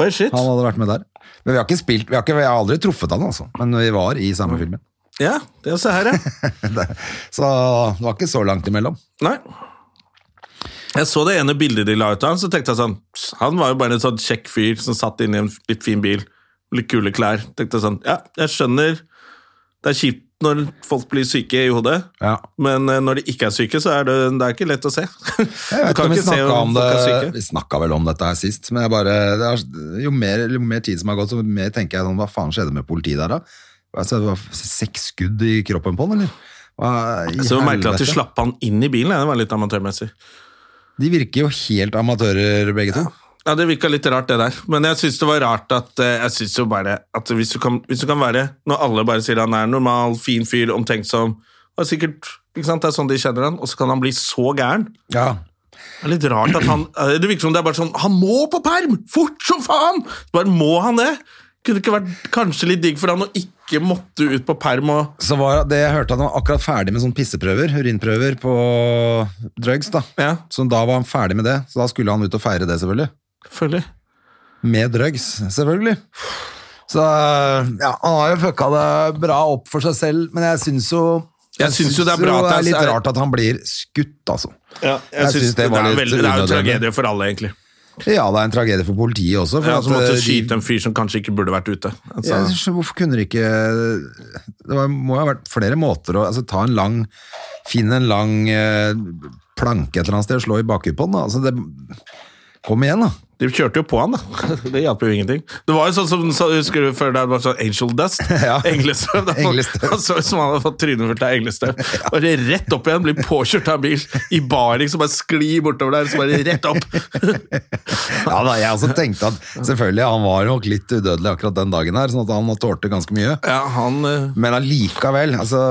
S1: Oi, shit.
S2: Han hadde vært med der. Men vi har ikke spilt, vi har, ikke, vi har aldri truffet han, altså. Men vi var i samme filmen.
S1: Ja, det se her, ja.
S2: Så det var ikke så langt imellom.
S1: Nei. Jeg så det ene bildet de la ut av han, så tenkte jeg sånn "Pss, Han var jo bare en sånn kjekk fyr som satt inne i en litt fin bil, litt kule klær. Tenkte jeg sånn Ja, jeg skjønner det er kjipt når folk blir syke i hodet,
S2: Ja.
S1: men eh, når de ikke er syke, så er det, det er ikke lett å se.
S2: Jeg
S1: Du
S2: vet ikke
S1: kan
S2: om vi
S1: ikke se
S2: snakket
S1: om
S2: om
S1: folk er
S2: det,
S1: syke.
S2: vi snakket vel om dette her sist, men jeg bare, det er, jo, mer, jo mer tid som har gått, så mer tenker jeg sånn, hva faen skjedde med politiet der da? Altså, det var seks skudd i kroppen på han, eller? Hva i
S1: Så det var merkelig at de
S2: helvete?
S1: slapp han inn i bilen. ja, Det var litt amatørmessig.
S2: De virker jo helt amatører begge to.
S1: Ja, Det virka litt rart, det der. Men jeg syns det var rart at eh, jeg synes jo bare at hvis du, kan, hvis du kan være Når alle bare sier han er en normal, fin fyr, omtenksom og sikkert, ikke sant, Det er sånn de kjenner han, og så kan han bli så gæren.
S2: Ja.
S1: Det er litt rart at han eh, Det virker som det er bare sånn Han må på perm! Fort som faen! Bare må han det? Kunne det ikke vært kanskje litt digg for han å ikke måtte ut på perm og
S2: Så var det, jeg hørte at han var akkurat ferdig med sånne pisseprøver, urinprøver på drugs da.
S1: Ja.
S2: Så da var han ferdig med det, så da skulle han ut og feire det selvfølgelig.
S1: Selvfølgelig.
S2: Med drugs, selvfølgelig. Så ja, han har jo fucka det bra opp for seg selv, men jeg syns jo
S1: Jeg syns jo det er bra at det
S2: litt
S1: er-
S2: rart at han blir skutt, altså.
S1: Ja, jeg, synes det,
S2: var
S1: er
S2: litt
S1: veldig, det er jo
S2: unødvendig.
S1: tragedie for alle, egentlig.
S2: Ja, det er en tragedie for politiet også. For
S1: Ja,
S2: at,
S1: Som måtte
S2: eh,
S1: skyte altså. en fyr som kanskje ikke burde vært ute.
S2: de, jeg
S1: Altså,
S2: synes, Hvorfor kunne de ikke Det var, må jo ha vært flere måter å altså, ta en lang Finne en lang eh, planke et eller annet sted og slå i bakhuet på den. da. Altså, det, kom igjen, da.
S1: De kjørte jo på han, da. Det hjalp jo ingenting. Det var jo sånn som så, husker du før der det var sånn angel dust?
S2: Ja.
S1: Englestøv. da folk-
S2: Englestøv.
S1: Han så ut som han hadde fått trynet fullt av englestøv. Og det rett opp igjen, blir påkjørt av en bil i baring som bare sklir bortover der, så bare rett opp.
S2: Ja da, jeg også tenkte at selvfølgelig, han var nok litt udødelig akkurat den dagen her, sånn at han tålte ganske mye.
S1: Ja, han eh,
S2: Men allikevel, altså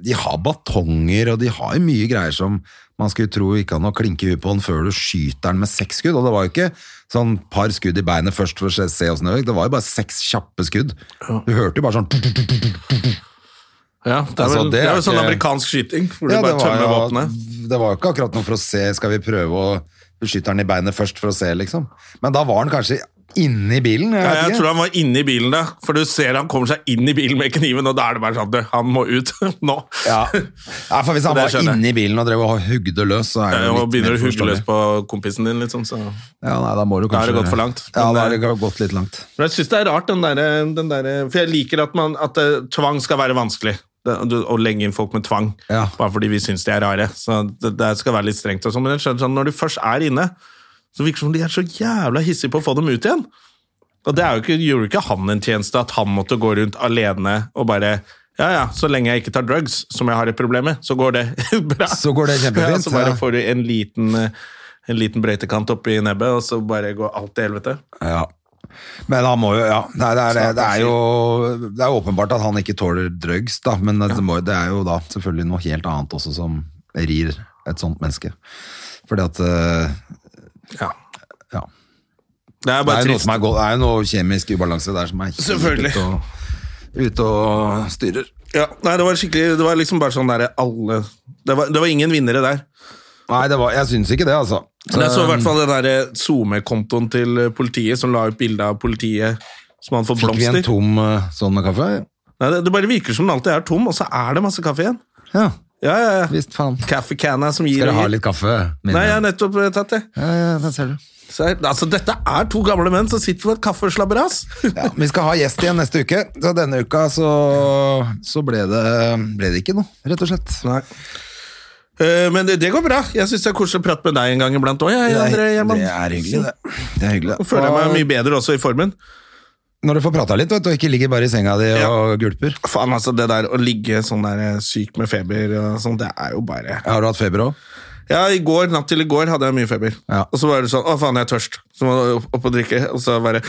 S2: De har batonger, og de har jo mye greier som man skulle tro ikke han å klinke huet på den før du skyter den med seks skudd. Og det var jo ikke sånn par skudd i beinet først for å se- se åssen det gikk, det var jo bare seks kjappe skudd. Du hørte jo bare sånn
S1: Ja, det er
S2: Altså,
S1: vel,
S2: det
S1: det
S2: er
S1: er jo sånn
S2: ikke-
S1: amerikansk skyting, hvor du
S2: Ja, det
S1: bare
S2: var,
S1: tømmer
S2: jo,
S1: våpenet.
S2: det var jo ikke akkurat noe for å se Skal vi prøve å skyte den i beinet først for å se, liksom? Men da var han kanskje inne i bilen? Jeg,
S1: Ja,
S2: vet
S1: jeg
S2: ikke.
S1: tror han var inne i bilen, da. For du ser han kommer seg inn i bilen med kniven, og da er det bare sånn du, Han må ut nå.
S2: Ja. ja, for hvis han
S1: Det
S2: var
S1: skjønner jeg.
S2: inne i bilen og drev og hugde løs, så er det jo
S1: Eh, Og
S2: litt
S1: begynner
S2: mer
S1: å hugge løs
S2: forståelig.
S1: på kompisen din, liksom. Så.
S2: Ja, nei, da må du
S1: Da har
S2: kanskje...
S1: det gått for langt.
S2: Ja,
S1: Men, eh,
S2: da har det gått litt langt.
S1: Men jeg syns det er rart, den derre den der, For jeg liker at, man, at eh, tvang skal være vanskelig. Det, du- å legge inn folk med tvang,
S2: Ja.
S1: bare fordi vi syns de er rare. Så det, det skal være litt strengt. Og sånn, men jeg skjønner sånn, når de først er inne, så virker det som de er så jævla hissige på å få dem ut igjen. Og det er jo ikke, gjorde ikke han en tjeneste at han måtte gå rundt alene og bare ja, ja, så lenge jeg ikke tar drugs, som jeg har et problem med, så går det bra.
S2: Så går det kjempefint,
S1: Ja, så bare
S2: ja.
S1: får du en liten, eh, en liten brøytekant oppi nebbet, og så bare går alt til helvete.
S2: Ja. Men han må jo Ja. Nei, det, er, det, er jo det er åpenbart at han ikke tåler drugs, da, men det, må, det er jo da selvfølgelig noe helt annet også som rir et sånt menneske. Fordi at eh,
S1: Ja.
S2: Ja.
S1: Det er
S2: Det
S1: bare
S2: er jo noe,
S1: trist.
S2: som er, gå- det er jo noe kjemisk ubalanse der som er helt
S1: Selvfølgelig.
S2: Ute og, ute og styrer.
S1: Ja, nei, det var skikkelig Det var liksom bare sånn derre alle det var, det var ingen vinnere der.
S2: Nei, det var, jeg syns ikke det, altså.
S1: Men jeg så i hvert fall den derre SoMe-kontoen til eh, politiet som la ut bilde av politiet som hadde fått
S2: Fikk vi en
S1: blomster.
S2: tom eh, sånn med kaffe?
S1: Nei, det, det bare virker som den alltid er tom, og så er det masse kaffe igjen.
S2: Ja,
S1: Ja, ja, ja.
S2: visst faen. Skal
S1: Kaffecanna som gir
S2: dere ha
S1: og gir.
S2: litt kaffe? mine?
S1: Nei, jeg har nettopp eh, tatt det.
S2: ja, ja, den ser du.
S1: Så, jeg- altså, dette er to gamle menn som sitter på et kaffeslabberas.
S2: Ja, vi skal ha gjest igjen neste uke. Så denne uka så, så ble, det, ble det ikke noe, rett og slett.
S1: Eh, Men det, det går bra. Jeg syns det er koselig å prate med deg en gang iblant òg.
S2: Det er,
S1: André Gjerman.
S2: det er hyggelig, det. det, er hyggelig, det.
S1: Nå føler jeg meg mye bedre også i formen.
S2: Når du får prata litt, vet du, og ikke ligger bare i senga di og gulper.
S1: Faen, altså, det der å ligge sånn der eh, syk med feber og sånn, det er jo bare
S2: Har du hatt feber òg?
S1: Ja, i går, natt til i går hadde jeg mye feber.
S2: Ja.
S1: Og så var det sånn Å, faen, jeg er tørst. Så må du opp- opp og drikke, og så bare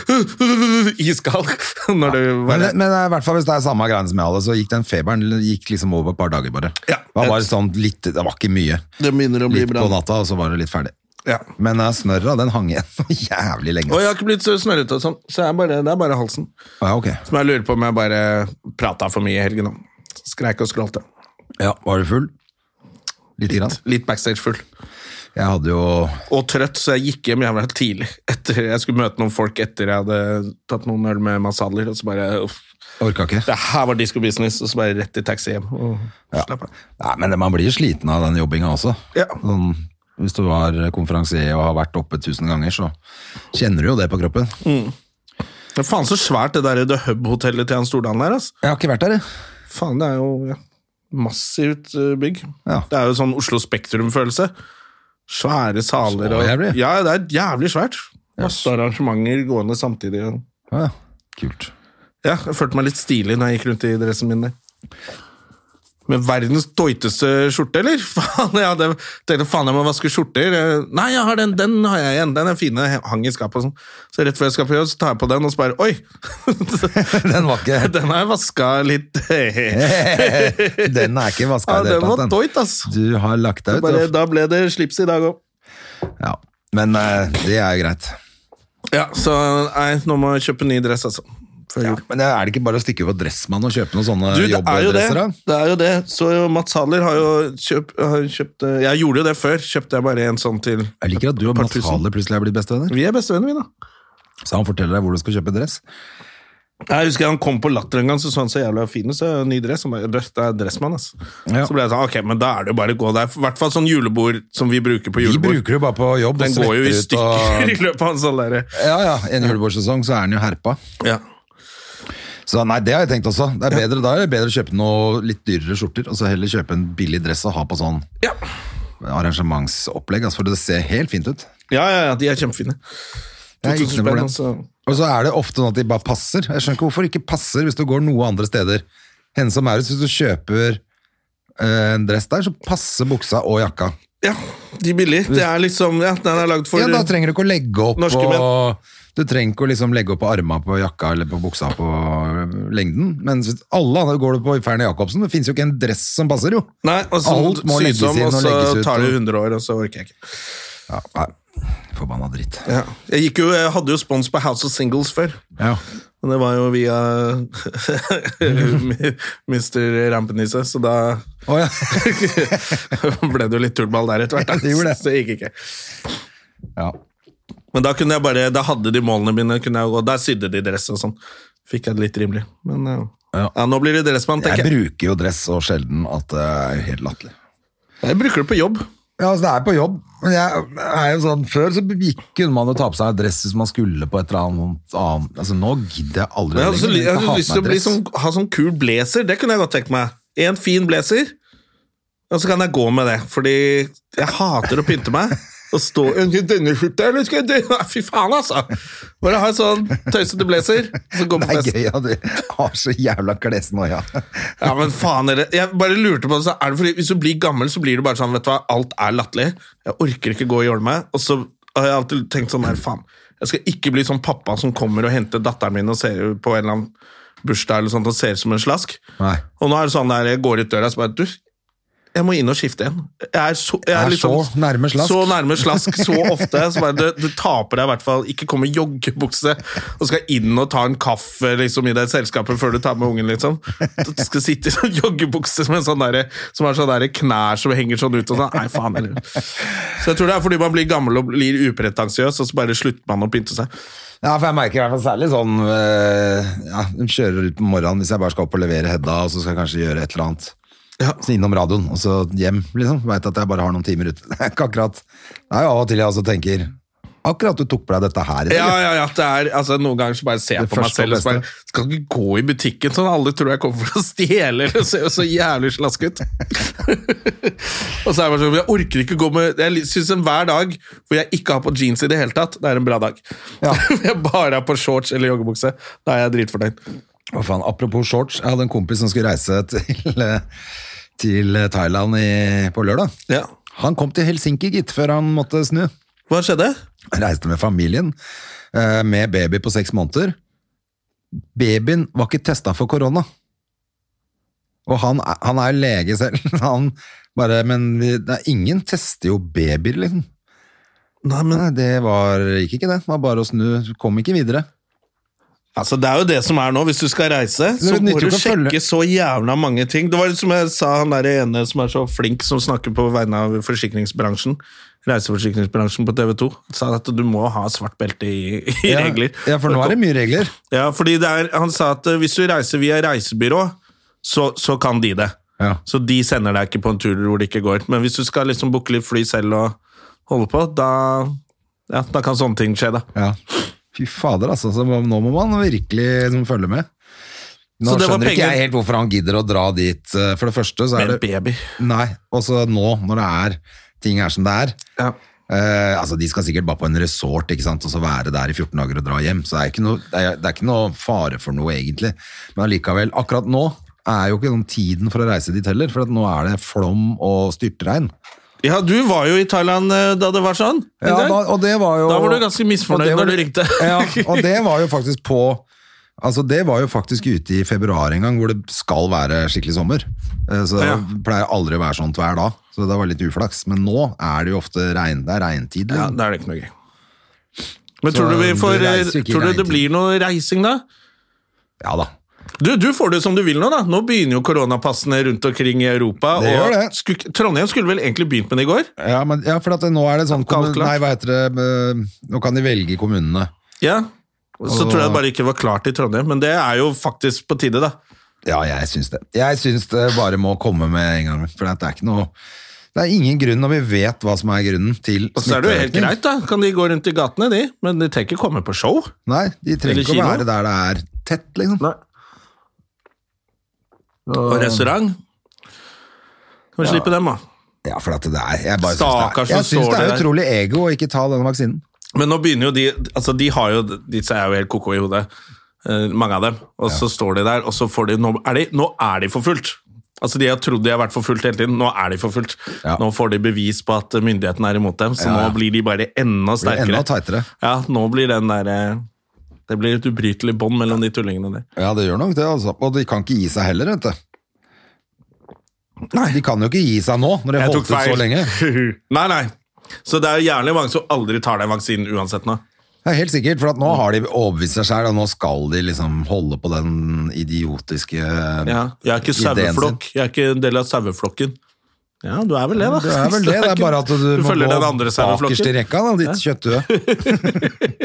S1: Iskald! Når du
S2: Men,
S1: bare
S2: men eh, i hvert fall hvis det er samme greiene som jeg hadde, så gikk den feberen gikk liksom over på et par dager bare.
S1: Ja.
S2: det, var bare sånn litt, det var ikke mye.
S1: Det begynner å bli
S2: Litt
S1: bra.
S2: på natta, og så var det litt ferdig.
S1: Ja.
S2: Men eh, snørra, den hang igjen for jævlig lenge.
S1: Og jeg har ikke blitt så snørrete og sånn, så jeg er bare, det er bare halsen.
S2: Ja, ok.
S1: Som jeg lurer på om jeg bare prata for mye i helgen om. Skreik og skrålte.
S2: Ja, var du full? Litt grann.
S1: Litt backstage-full.
S2: Jeg hadde jo...
S1: Og trøtt, så jeg gikk hjem jævla tidlig. Etter, jeg skulle møte noen folk etter jeg hadde tatt noen øl med Masadler, og så bare uff.
S2: Orka ikke.
S1: Det her var disco business, og så bare rett i taxi hjem. Og slapp av.
S2: Nei, men man blir sliten av den jobbinga også.
S1: Ja.
S2: Sånn, hvis du var konferansier og har vært oppe tusen ganger, så kjenner du jo det på kroppen.
S1: Men faen så svært det der The Hub-hotellet til han Stordalen der, altså.
S2: Jeg har ikke vært der, jeg.
S1: Faen, det er jo ja, massivt eh, bygg.
S2: Ja.
S1: Det er jo sånn Oslo Spektrum-følelse. Svære saler
S2: Så
S1: og
S2: jævlig.
S1: Ja, det er jævlig svært. Masse arrangementer gående samtidig. og-
S2: Ja, ja. Kult.
S1: Ja, jeg følte meg litt stilig når jeg gikk rundt i dressen min der. Med verdens tøyteste skjorte, eller? Faen, jeg hadde, tenkte faen, jeg må vaske skjorter. Eh, Nei, jeg har den, den har jeg igjen. Den er fine. Hang i skapet og sånn. Så rett før jeg skal på jobb, så tar jeg på den, og så bare Oi!
S2: Den var ikke
S1: Den har jeg vaska litt.
S2: Den er ikke vaska
S1: Ja,
S2: i det
S1: den
S2: hele
S1: var
S2: tatt. den.
S1: doit, ass.
S2: Du har lagt deg ut.
S1: Bare,
S2: og-
S1: da ble det slips i dag òg.
S2: Ja. Men eh, det er jo greit.
S1: Ja, så nei, nå må jeg kjøpe ny dress, altså. Før jul.
S2: Men eh, er det ikke bare å stikke over dressmann og kjøpe noen sånne
S1: Du, det er jo det.
S2: jobbdresser? Eh, da?
S1: det er jo det. Så jo, Mats Haller har jo kjøpt, har kjøpt eh, Jeg gjorde jo det før. Kjøpte jeg bare en sånn til
S2: Jeg liker at du og
S1: Par
S2: Mats
S1: tusen.
S2: Haller plutselig er blitt bestevenner.
S1: Vi er bestevenner, vi, da.
S2: Så han forteller deg hvor du skal kjøpe dress.
S1: Jeg husker Han kom på Latter en gang, så så han så jævla fin ut. Så jeg, ny dress. Han bare, «Døff, det er dressmann, ass.
S2: Ja.
S1: Så ble jeg sånn, ok, men da er det jo bare å gå der. I hvert fall sånn julebord som vi bruker på
S2: Vi
S1: julebord.
S2: bruker jo bare på jobb. og
S1: Den går jo i
S2: svetter ut
S1: stykker i
S2: og-
S1: løpet av en sånn derre
S2: Ja, ja. En julebordsesong, så er den jo herpa.
S1: ja.
S2: Så nei, det har jeg tenkt også. Det er bedre, da er det bedre å kjøpe noe litt dyrere skjorter, og så heller kjøpe en billig dress og ha på sånn
S1: ja.
S2: arrangementsopplegg, altså, for det ser helt fint ut.
S1: Ja, ja, ja, de er kjempefine.
S2: Det er ikke
S1: 2000
S2: noe
S1: spenn,
S2: problem.
S1: altså.
S2: Og så er det ofte sånn at de bare passer. Jeg skjønner ikke hvorfor de ikke passer hvis du går noe andre steder. Henne som er, hvis du kjøper eh, en dress der, så passer buksa og jakka.
S1: Ja, de er billige. Det er liksom, ja, den er lagd for
S2: ja, da trenger du ikke å legge opp
S1: Norske
S2: og, Du trenger ikke å liksom legge opp på arma på jakka eller på buksa på eh, lengden. Mens hvis alle andre går du på Fernie Jacobsen, det fins jo ikke en dress som passer, jo.
S1: Nei, og så
S2: Alt må
S1: sys
S2: legges
S1: om,
S2: inn og
S1: og så
S2: legges ut,
S1: tar det
S2: og-
S1: 100 år, og så orker jeg ikke.
S2: Ja, nei. Forbanna dritt.
S1: Ja. Jeg, gikk jo, jeg hadde jo spons på House of Singles før,
S2: Ja.
S1: men det var jo via Mr. Rampenisse, så da
S2: Å, ja.
S1: ble det jo litt tullball der etter hvert. da.
S2: Det gjorde det.
S1: Så det gikk ikke.
S2: ja.
S1: Men da kunne jeg bare, da hadde de målene mine, kunne jeg gå, der sydde de dress og sånn. Fikk jeg det litt rimelig. Men ja,
S2: Ja.
S1: ja nå blir det dressmann,
S2: Jeg
S1: tenker jeg.
S2: bruker jo dress så sjelden at det er jo helt latterlig.
S1: Jeg bruker det på jobb.
S2: Ja, altså det er på jobb. Men jeg er jo sånn, Før så gikk kunne man jo ta på seg dress hvis man skulle på et eller annet annet. Altså Nå gidder jeg aldri
S1: Men jeg
S2: det
S1: hadde, så,
S2: lenger.
S1: ly- jeg
S2: Jeg
S1: hadde
S2: hater
S1: lyst til å
S2: meg
S1: bli
S2: dress.
S1: sånn, ha sånn kul blazer, det kunne jeg godt tenkt meg. en fin blazer, og så kan jeg gå med det. Fordi jeg hater å pynte meg. Og stå «Ønsker denne skjorta, eller skal jeg denne?» Fy faen, altså! Bare ha en sånn tøysete blazer, og så gå
S2: Det
S1: på
S2: er
S1: fest.
S2: gøy at du har så jævla klesnoia.
S1: Ja, men faen er det. Jeg bare lurte på det, så er det fordi hvis du blir gammel, så blir du bare sånn, vet du hva, alt er latterlig. Jeg orker ikke gå og gjøre meg. Og så har jeg alltid tenkt sånn her, faen, jeg skal ikke bli sånn pappa som kommer og henter datteren min og ser på en eller annen bursdag eller sånt og ser ut som en slask.
S2: Nei.
S1: Og nå er det sånn der, jeg går ut døra og så bare, du, jeg må inn og skifte igjen. Jeg er så, jeg
S2: Jeg er
S1: er litt sånn-
S2: så nærme slask.
S1: Så nærme slask, så ofte. Så bare, du, du taper deg i hvert fall. Ikke kom i joggebukse og skal inn og ta en kaffe liksom, i det selskapet før du tar med ungen. liksom. Du skal sitte i sånn joggebukse som, en sånn derre- som har sånne derre knær som henger sånn ut. og sånn. Nei, faen heller. Så jeg tror det er fordi man blir gammel og blir upretensiøs, og så bare slutter man å pynte seg.
S2: Ja, for jeg merker i hvert fall særlig sånn øh, ja, Hun kjører ut på morgenen hvis jeg bare skal opp og levere Hedda, og så skal jeg kanskje gjøre et eller annet.
S1: Ja.
S2: Så innom radioen, og så hjem, liksom. Veit at jeg bare har noen timer ute. Det er ikke akkurat Det er jo av og til jeg også tenker Akkurat du tok på deg dette her i dag.
S1: Ja, ja, ja. Det er, altså, noen ganger så bare ser jeg
S2: Det
S1: på meg
S2: første
S1: selv og så
S2: og
S1: bare Skal ikke gå i butikken sånn. Alle tror jeg kommer for å stjele. Det ser jo så jævlig slask ut. og så er det bare sånn Jeg orker ikke gå med Jeg syns enhver dag hvor jeg ikke har på jeans i det hele tatt, det er en bra dag.
S2: Ja.
S1: Hvor jeg bare har på shorts eller joggebukse. Da er jeg dritfornøyd.
S2: Hva faen, apropos shorts, jeg hadde en kompis som skulle reise til, eh, til Thailand i, på lørdag.
S1: Ja.
S2: Han kom til Helsinki, gitt, før han måtte snu.
S1: Hva skjedde?
S2: Han reiste med familien, eh, med baby på seks måneder. Babyen var ikke testa for korona. Og han, er- han er jo lege selv. Han bare, men vi, det er ingen tester jo babyer, liksom.
S1: Nei, men
S2: Nei, det var, gikk ikke det. Det var bare å snu. Du Kom ikke videre.
S1: altså, Det er jo det som er nå. Hvis du skal reise, så
S2: Det
S1: må
S2: nytter
S1: du
S2: ikke å følge-
S1: sjekke så jævla mange ting. Det var litt som jeg sa han der ene som er så flink, som snakker på vegne av forsikringsbransjen. Reiseforsikringsbransjen på TV 2 sa at du må ha svart belte i, i regler.
S2: Ja, for nå er det mye regler.
S1: Ja, fordi det er, Han sa at eh, hvis du reiser via reisebyrå, så, så kan de det.
S2: Ja.
S1: Så de sender deg ikke på en tur hvor det ikke går. Men hvis du skal liksom booke litt fly selv og holde på, da, ja, da kan sånne ting skje, da.
S2: Ja. Fy fader, altså. Så nå må man virkelig liksom, følge med. Nå
S1: Så det var
S2: skjønner ikke
S1: penger-
S2: jeg helt hvorfor han gidder å dra dit. eh, For det første så
S1: Med
S2: er
S1: en
S2: det
S1: baby.
S2: Nei, også nå, når det er ting er som det er.
S1: Ja.
S2: Eh, altså, De skal sikkert bare på en resort ikke sant? og så være der i 14 dager og dra hjem. Så det er ikke noe, det er, det er ikke noe fare for noe, egentlig. Men allikevel, akkurat nå er jo ikke sånn tiden for å reise dit heller. For at nå er det flom og styrtregn.
S1: Ja, du var jo i Thailand eh, da det var sånn. en
S2: Ja,
S1: gang.
S2: da, og det var jo,
S1: Da var du ganske misfornøyd
S2: og det var-
S1: når du ringte.
S2: ja, og det var jo faktisk på Altså Det var jo faktisk ute i februar en gang, hvor det skal være skikkelig sommer. Eh, Så det
S1: Ja.
S2: pleier aldri å være sånt vær da, så det var litt uflaks. Men nå er det jo ofte regn, det er regntid.
S1: ja,
S2: liksom.
S1: da er det ikke noe gøy. Men
S2: Så
S1: tror du, vi
S2: du
S1: får, eh,
S2: reiser jo ikke
S1: tror du det
S2: regntid.
S1: blir noe reising, da?
S2: ja da.
S1: Du, du får det som du vil nå, da. Nå begynner jo koronapassene rundt omkring i Europa.
S2: Det
S1: og
S2: gjør det.
S1: Sku, Trondheim skulle vel egentlig begynt med det i går?
S2: Ja, men, ja, for at det, nå er det sånn
S1: Kaldt
S2: kommun-
S1: klart.
S2: Nei, hva heter det eh, Nå kan de velge kommunene.
S1: Ja. Så tror jeg det bare ikke var klart i Trondheim, men det er jo faktisk på tide, da.
S2: Ja, jeg syns det. Jeg syns det bare må komme med en gang. For at det er ikke noe Det er ingen grunn, og vi vet hva som er grunnen til
S1: Og så er det jo helt
S2: smitteøkning.
S1: greit, da. Kan de gå rundt i gatene, de. Men de trenger ikke komme på show.
S2: Nei, de trenger
S1: Eller
S2: ikke å
S1: kino.
S2: være der det er tett, liksom.
S1: Og restaurant. Kan vi slippe dem, da.
S2: Ja, for at det er Jeg bare syns
S1: Stakkars
S2: det er, jeg
S1: som
S2: syns
S1: står
S2: det er
S1: der.
S2: utrolig ego å ikke ta denne vaksinen.
S1: Men nå begynner jo de Altså, de har jo Disse er jo helt koko i hodet, eh, mange av dem. Og så står de der, og så får de Nå er de, nå er de for fullt! Altså, De har trodd de har vært for fullt hele tiden. Nå er de for fullt.
S2: Ja.
S1: Nå får de bevis på at myndighetene er imot dem, så
S2: Ja, ja.
S1: nå blir de bare enda
S2: Blir
S1: sterkere.
S2: enda tightere.
S1: Ja, nå blir den der eh, Det blir et ubrytelig bånd mellom de tullingene der.
S2: Ja, det gjør nok det, altså. Og de kan ikke gi seg heller, vet du.
S1: Nei.
S2: De kan jo ikke gi seg nå, når de har holdt ut så lenge.
S1: nei, nei. Så det er jo gjerne mange som aldri tar den vaksinen uansett nå.
S2: Det er helt sikkert, for at nå har de overbevist seg sjøl, og nå skal de liksom holde på den idiotiske
S1: Ja. Jeg er ikke
S2: Ideen sin.
S1: saueflokk. Jeg er ikke en del av saueflokken. Ja, du er vel det, da.
S2: Det er vel det, det er bare at du,
S1: du
S2: må
S1: følger
S2: gå
S1: den andre
S2: bakerst i
S1: saueflokken.
S2: rekka, da, ditt kjøtthue.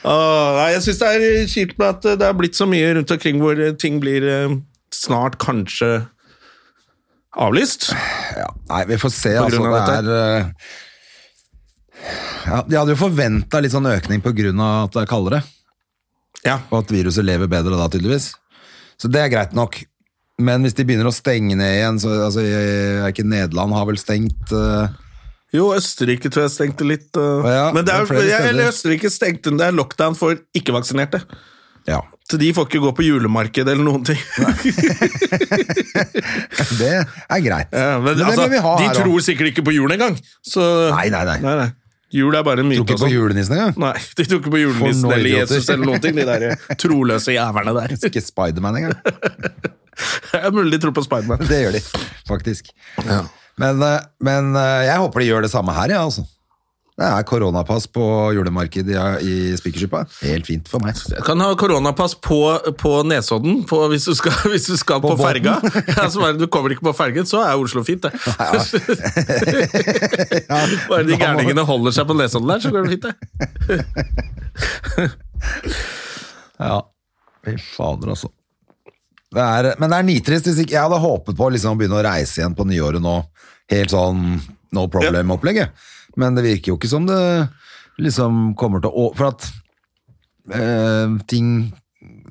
S1: Åh, nei, jeg syns det er kjipt med at eh, det er blitt så mye rundt omkring hvor eh, ting blir eh, snart kanskje avlyst.
S2: Ja, nei, vi får se,
S1: På
S2: altså.
S1: grunn av
S2: Det er eh, ja, De hadde jo forventa litt sånn økning på grunn av at det er kaldere.
S1: Ja.
S2: Og at viruset lever bedre da, tydeligvis. Så det er greit nok. Men hvis de begynner å stenge ned igjen så, altså, jeg- Er ikke Nederland har vel stengt eh,
S1: Jo, Østerrike tror jeg stengte litt. øh.
S2: Ja,
S1: men det er,
S2: det er flere
S1: ja,
S2: steder.
S1: eller Østerrike stengte det er lockdown for ikke-vaksinerte.
S2: Ja.
S1: Så de får ikke gå på julemarked eller noen ting.
S2: Det er greit.
S1: ja, men,
S2: det
S1: altså,
S2: bør vi ha
S1: de
S2: her også.
S1: tror sikkert ikke på jul engang. Så,
S2: Nei, nei, nei.
S1: nei, nei. Jul er bare en myte.
S2: Tror ikke på
S1: altså.
S2: julenissen engang.
S1: Nei, de tror ikke på julenissen
S2: For noen
S1: eller
S2: idioter.
S1: Jesus eller noen ting, de der eh, troløse jævlene der. Det
S2: Ikke Spiderman engang.
S1: er mulig de tror på Spiderman.
S2: Det gjør de, faktisk. Men, eh, men eh, jeg håper de gjør det samme her, ja, altså. Det er koronapass på julemarkedet i, i Spikersuppa. Helt fint for meg.
S1: Jeg kan ha koronapass på, på Nesodden på, hvis, du skal, hvis du skal på,
S2: På båten.
S1: ferga. Ja, så bare, du kommer ikke på fergen, så er Oslo fint, det. Bare de gærningene holder seg på Nesodden der, så går det fint, det.
S2: Ja. Fy fader, altså. Det er, men det er nitrist hvis ikke Jeg hadde håpet på liksom å begynne å reise igjen på nyåret nå. Helt sånn no problem-opplegget. Men det virker jo ikke som det liksom kommer til å å- For at eh, ting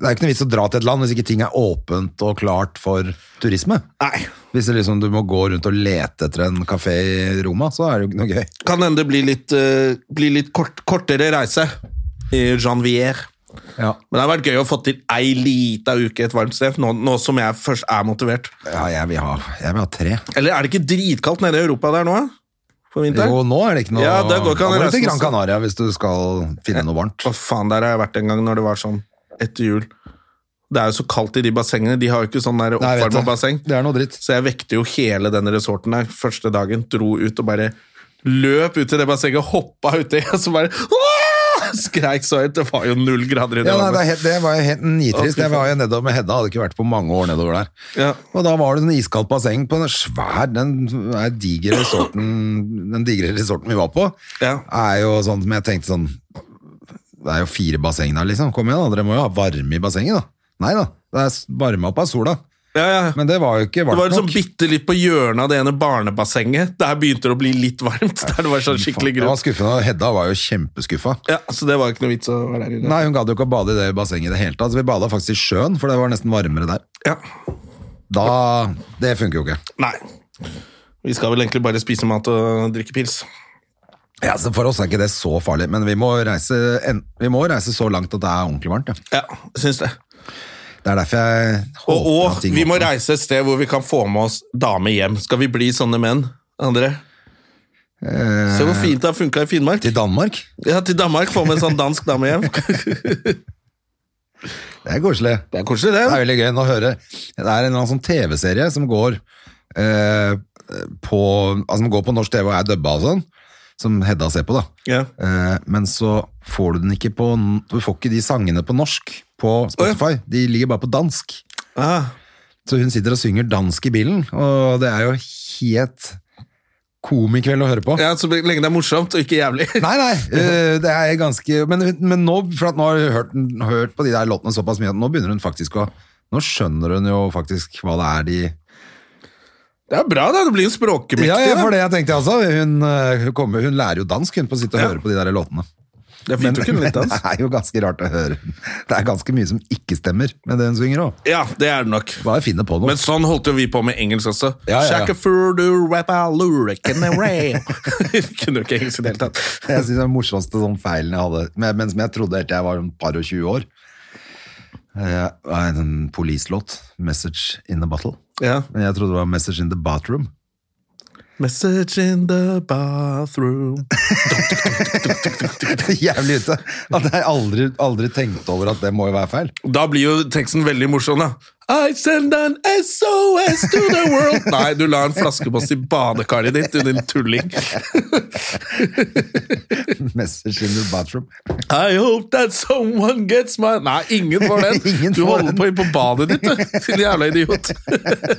S2: Det er jo ikke noe vits å dra til et land hvis ikke ting er åpent og klart for turisme.
S1: Nei.
S2: Hvis det liksom, du må gå rundt og lete etter en kafé i Roma, så er det jo ikke noe gøy.
S1: Kan hende det blir litt, eh, blir litt kort, kortere reise i Janvier.
S2: Ja.
S1: Men det har vært gøy å få til ei lita uke et varmt sted, nå, nå som jeg først er motivert.
S2: jeg, vil ha, jeg vil ha tre.
S1: Eller er det ikke dritkaldt nede i Europa der nå? eh? På vinteren?
S2: Jo, nå er det ikke noe
S1: Ja, det går ikke an
S2: Da
S1: å
S2: må du til
S1: reise
S2: Gran
S1: noe-
S2: Canaria hvis du skal finne noe varmt.
S1: Å faen, der har jeg vært en gang når det var sånn etter jul. Det er jo så kaldt i de bassengene, de har jo ikke sånn der
S2: Nei, jeg vet
S1: oppvarma
S2: det.
S1: basseng.
S2: Det er noe dritt.
S1: Så jeg vekte jo hele den resorten der første dagen, dro ut og bare løp ut i det bassenget, hoppa uti, og så bare «Åh!» skreik så høyt. Det var jo null grader i det
S2: Ja, nei, det, er
S1: vannet.
S2: helt, det var jo helt nitrist. Jeg var jo nedover med Hedda, hadde ikke vært på mange år nedover der.
S1: Ja.
S2: Og da var det en iskaldt basseng på en svær, den er digre resorten, den digre resorten vi var på,
S1: Ja.
S2: er jo sånn som jeg tenkte sånn, det er jo fire basseng der liksom, kom igjen da, dere må jo ha varme i bassenget da. Nei da, det er s- varme opp av sola.
S1: Ja, ja.
S2: Men det var jo ikke
S1: Det
S2: varmt
S1: var
S2: nok.
S1: liksom bitte litt på hjørnet av det ene barnebassenget. Der begynte det å bli litt varmt. Der det var sånn skikkelig
S2: Det var
S1: grunt.
S2: skuffende, og Hedda var jo kjempeskuffa.
S1: Ja, så det var ikke noe vits å være der inne.
S2: Nei, hun gadd jo ikke å bade i det bassenget i det hele tatt, så vi bada faktisk i sjøen, for det var nesten varmere der.
S1: Ja.
S2: Da, det funker jo ikke.
S1: Nei. Vi skal vel egentlig bare spise mat og drikke pils.
S2: Ja, så For oss er ikke det så farlig, men vi må reise, en, vi må reise så langt at det er ordentlig varmt. Ja.
S1: Ja, syns det.
S2: Det er derfor jeg
S1: Og,
S2: håper at
S1: og
S2: ting
S1: vi må
S2: åpner.
S1: reise et sted hvor vi kan få med oss damer hjem. Skal vi bli sånne menn, André? Se hvor fint det har funka i Finnmark.
S2: Til Danmark?
S1: Ja, Til Danmark. Få med en sånn dansk dame hjem.
S2: Det er koselig.
S1: Det er koselig,
S2: Det
S1: det.
S2: er veldig gøy å høre. Det er en eller annen sånn TV-serie som går eh, på altså, som går på norsk TV og er dubba og sånn, som Hedda ser på, da.
S1: Ja.
S2: Eh, men så får du den ikke på n- Du får ikke de sangene på norsk på Spotify. De ligger bare på dansk.
S1: Ah,
S2: Så hun sitter og synger dansk i bilen, og det er jo helt komikveld å høre på.
S1: ja, Så lenge det er morsomt og ikke jævlig.
S2: Nei, nei, øh, det er ganske Men, men nå, for at nå har jeg hørt, den- hørt på de der låtene såpass mye at nå begynner hun faktisk å Nå skjønner hun jo faktisk hva det er de
S1: Det er bra, da. Det blir en språkmektig.
S2: Ja, ja, for
S1: da.
S2: det jeg tenkte jeg også. Hun, øh, hun, kommer, hun lærer jo dansk, hun, på å sitte og
S1: Ja.
S2: høre på de der låtene.
S1: Det er fint å kunne
S2: men
S1: litt
S2: det
S1: dans.
S2: er jo ganske rart å høre. Det er ganske mye som ikke stemmer med det hun synger òg.
S1: Ja, det er det nok.
S2: Bare finne på noe.
S1: Men sånn holdt jo vi på med engelsk også.
S2: Ja, ja, ja.
S1: Shackafudu, rappa, lure, can I rail? Kunne jo ikke engelsk i det hele tatt.
S2: Jeg synes den morsomste sånn feilen jeg hadde, men, men som jeg trodde helt til jeg var et par og 20 år, eh, var en polislåt, Message in the Bottle.
S1: Ja.
S2: Men jeg trodde det var Message in the Bathroom.
S1: Message in the bathroom.
S2: Jævlig ute. At jeg aldri, aldri tenkte over at det må jo være feil.
S1: Da blir jo teksten veldig morsom, da. I send an SOS to the world. Nei, du la en flaskepost i badekaret ditt, du din tulling.
S2: Message in the Bathroom.
S1: I hope that someone gets my Nei, ingen får den.
S2: Ingen
S1: du
S2: får
S1: holder
S2: den.
S1: på inn på badet ditt, du. Din jævla idiot.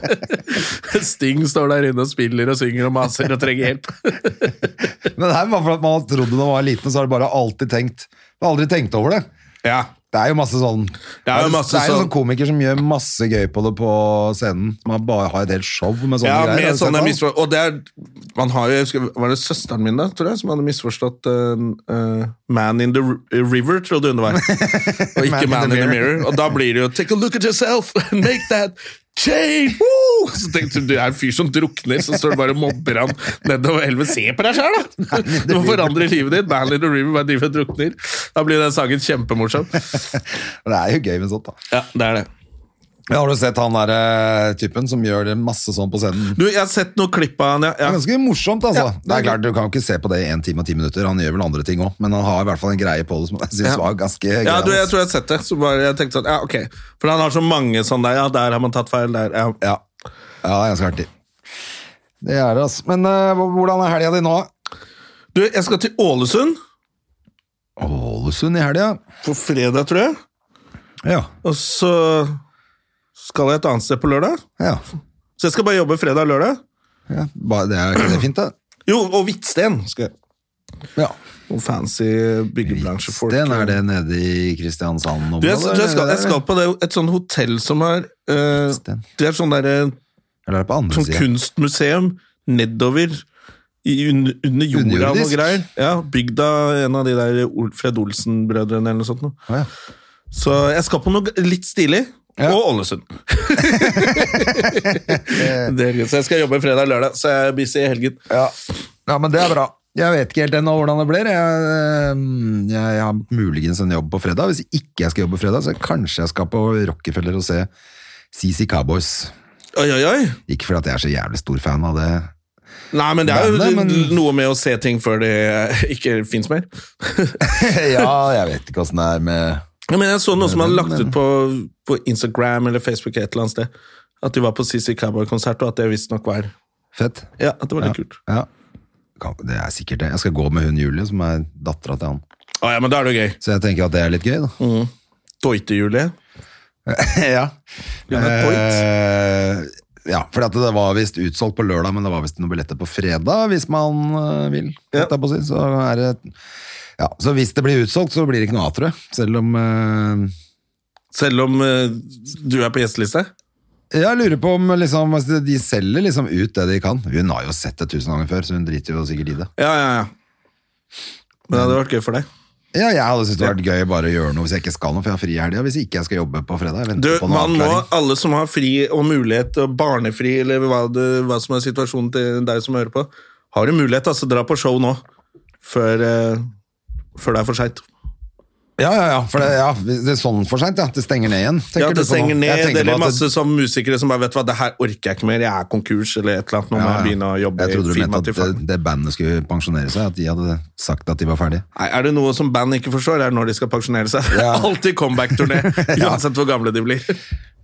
S1: Sting står der inne og spiller og synger og maser og trenger hjelp.
S2: Men det er bare for at man har trodd det når man var liten, så har du bare alltid tenkt man har aldri tenkt over det.
S1: Ja.
S2: Det er jo masse sånn
S1: Det er jo masse
S2: det er jo
S1: sånn-
S2: sånn komiker som gjør masse gøy på det på scenen. Man bare har et helt show med sånne
S1: Ja,
S2: greier. Har
S1: med
S2: du sett
S1: sånne
S2: han?
S1: misforståelser. Og det er, man har jo, jeg husker- var det søsteren min da, tror jeg, som hadde misforstått eh, eh, Man in the Ri- River, trodde hun det var. Og ikke Man, in the mirror. Og da blir det jo Take a look at yourself and make that Shane! Woo! Så tenkte du, du er en fyr som drukner, så står du bare og mobber han nedover elven. Se på deg sjøl, da! Du må forandre livet ditt. Man in the river bare driver og drukner. Da blir den sangen kjempemorsom.
S2: Det er jo gøy med sånt, da.
S1: Ja, det er det.
S2: Men har du sett han der eh, typen som gjør det masse sånn på scenen?
S1: Du, jeg har sett noen klipp av han.
S2: Det
S1: Ja,
S2: er
S1: ja.
S2: ganske morsomt, altså.
S1: Ja,
S2: det er klart, Du kan jo ikke se på det i en time og ti minutter. Han gjør vel andre ting òg, men han har i hvert fall en greie på det som jeg syns
S1: Ja.
S2: var ganske gøy.
S1: Ja, du, jeg
S2: altså.
S1: tror jeg har sett det. Så bare, jeg tenkte sånn, ja, ok. For han har så mange sånne der. Ja, der har man tatt feil. Der. Ja.
S2: ja. ja, ganske artig. Det er det, altså. Men eh, hvordan er helga di nå?
S1: Du, jeg skal til Ålesund
S2: Ålesund i helga.
S1: på fredag, tror jeg.
S2: Ja.
S1: Og så skal jeg et annet sted på lørdag.
S2: ja.
S1: Så jeg skal bare jobbe fredag og lørdag.
S2: ja. Ba- Det er, det er fint, det.
S1: Jo, og Hvitsten skal jeg.
S2: Ja.
S1: Og fancy byggebransjefolk.
S2: Den er det nede i Kristiansand?
S1: Du, jeg, du, jeg, skal, jeg skal på det, et sånn hotell som er eh,
S2: Hvitsten.
S1: Det er sånn der, eh,
S2: Eller er det på andre
S1: sånn
S2: sida?
S1: kunstmuseum nedover i, under, under jorda og
S2: Underjordisk?
S1: noe greier. Ja, Bygd av en av de der Ol- Fred Olsen-brødrene eller noe sånt. noe.
S2: Å, ja.
S1: Så jeg skal på noe g- litt stilig.
S2: Ja.
S1: Og Ålesund. det er gøy. Så jeg skal jobbe fredag og lørdag, så jeg er busy i helgen.
S2: Ja. ja, men det er bra. Jeg vet ikke helt ennå hvordan det blir. Jeg, øhm, jeg, jeg har muligens en jobb på fredag. Hvis ikke jeg skal jobbe på fredag, så kanskje jeg skal på Rockefeller og se CC Cowboys.
S1: Oi, oi, oi.
S2: Ikke fordi at jeg er så jævlig stor fan av det.
S1: Nei, men det er jo
S2: Bandet, men-
S1: noe med å se ting før det ikke fins mer.
S2: ja, jeg vet ikke åssen det er med
S1: Ja, Men jeg så noe som hadde lagt ut på, på Instagram eller Facebook et eller annet sted. At de var på CC Cowboy-konsert, og at det visstnok var
S2: Fett.
S1: Ja, at det var litt kult.
S2: Ja. Kan- Det er sikkert det. Jeg skal gå med hun Julie, som er dattera til han.
S1: Å ja, men da er det jo gøy.
S2: Så jeg tenker at det er litt gøy, da.
S1: Doite-Julie.
S2: ja.
S1: Hun er
S2: Eh, ja, for at det var visst utsolgt på lørdag, men det var visst noen billetter på fredag, hvis man eh, vil.
S1: Ja.
S2: holdt jeg på å si. Så, er det, ja, så hvis det blir utsolgt, så blir det ikke noe av, tror jeg. Selv om eh,
S1: Selv om eh, du er på gjesteliste.
S2: Jeg lurer på om liksom, altså, de selger liksom ut det de kan. Hun har jo sett det tusen ganger før, så hun driter jo sikkert i det.
S1: Ja, ja, ja. Men det hadde vært gøy for deg.
S2: Ja, jeg hadde syntes det hadde vært gøy bare å gjøre noe hvis jeg ikke skal noe, for jeg har fri i helga. Hvis ikke jeg skal jobbe på fredag. Jeg
S1: Du,
S2: venter på noe
S1: man må,
S2: avklaring.
S1: alle som har fri og mulighet, og barnefri, eller hva, du, hva som er situasjonen til deg som hører på, har du mulighet, altså dra på show nå, før, eh, før det er for seint.
S2: Ja, ja, ja. For det, ja, det er sånn for seint, ja. Det stenger ned igjen. tenker
S1: Ja,
S2: du
S1: det
S2: på nå?
S1: stenger
S2: Jeg
S1: ned,
S2: tenker på
S1: eller
S2: at det-
S1: masse som musikere som bare vet du hva, det her orker jeg ikke mer, jeg er konkurs, eller et eller annet, nå må
S2: Ja, ja.
S1: jeg begynne å jobbe
S2: Jeg trodde
S1: i
S2: du mente
S1: firma
S2: at
S1: til faen.
S2: det, det bandet skulle pensjonere seg, at de hadde sagt at de var ferdige.
S1: Nei, er det noe som band ikke forstår, er det når de skal pensjonere seg.
S2: Ja.
S1: Alltid comeback-turné,
S2: Ja.
S1: uansett hvor gamle de blir.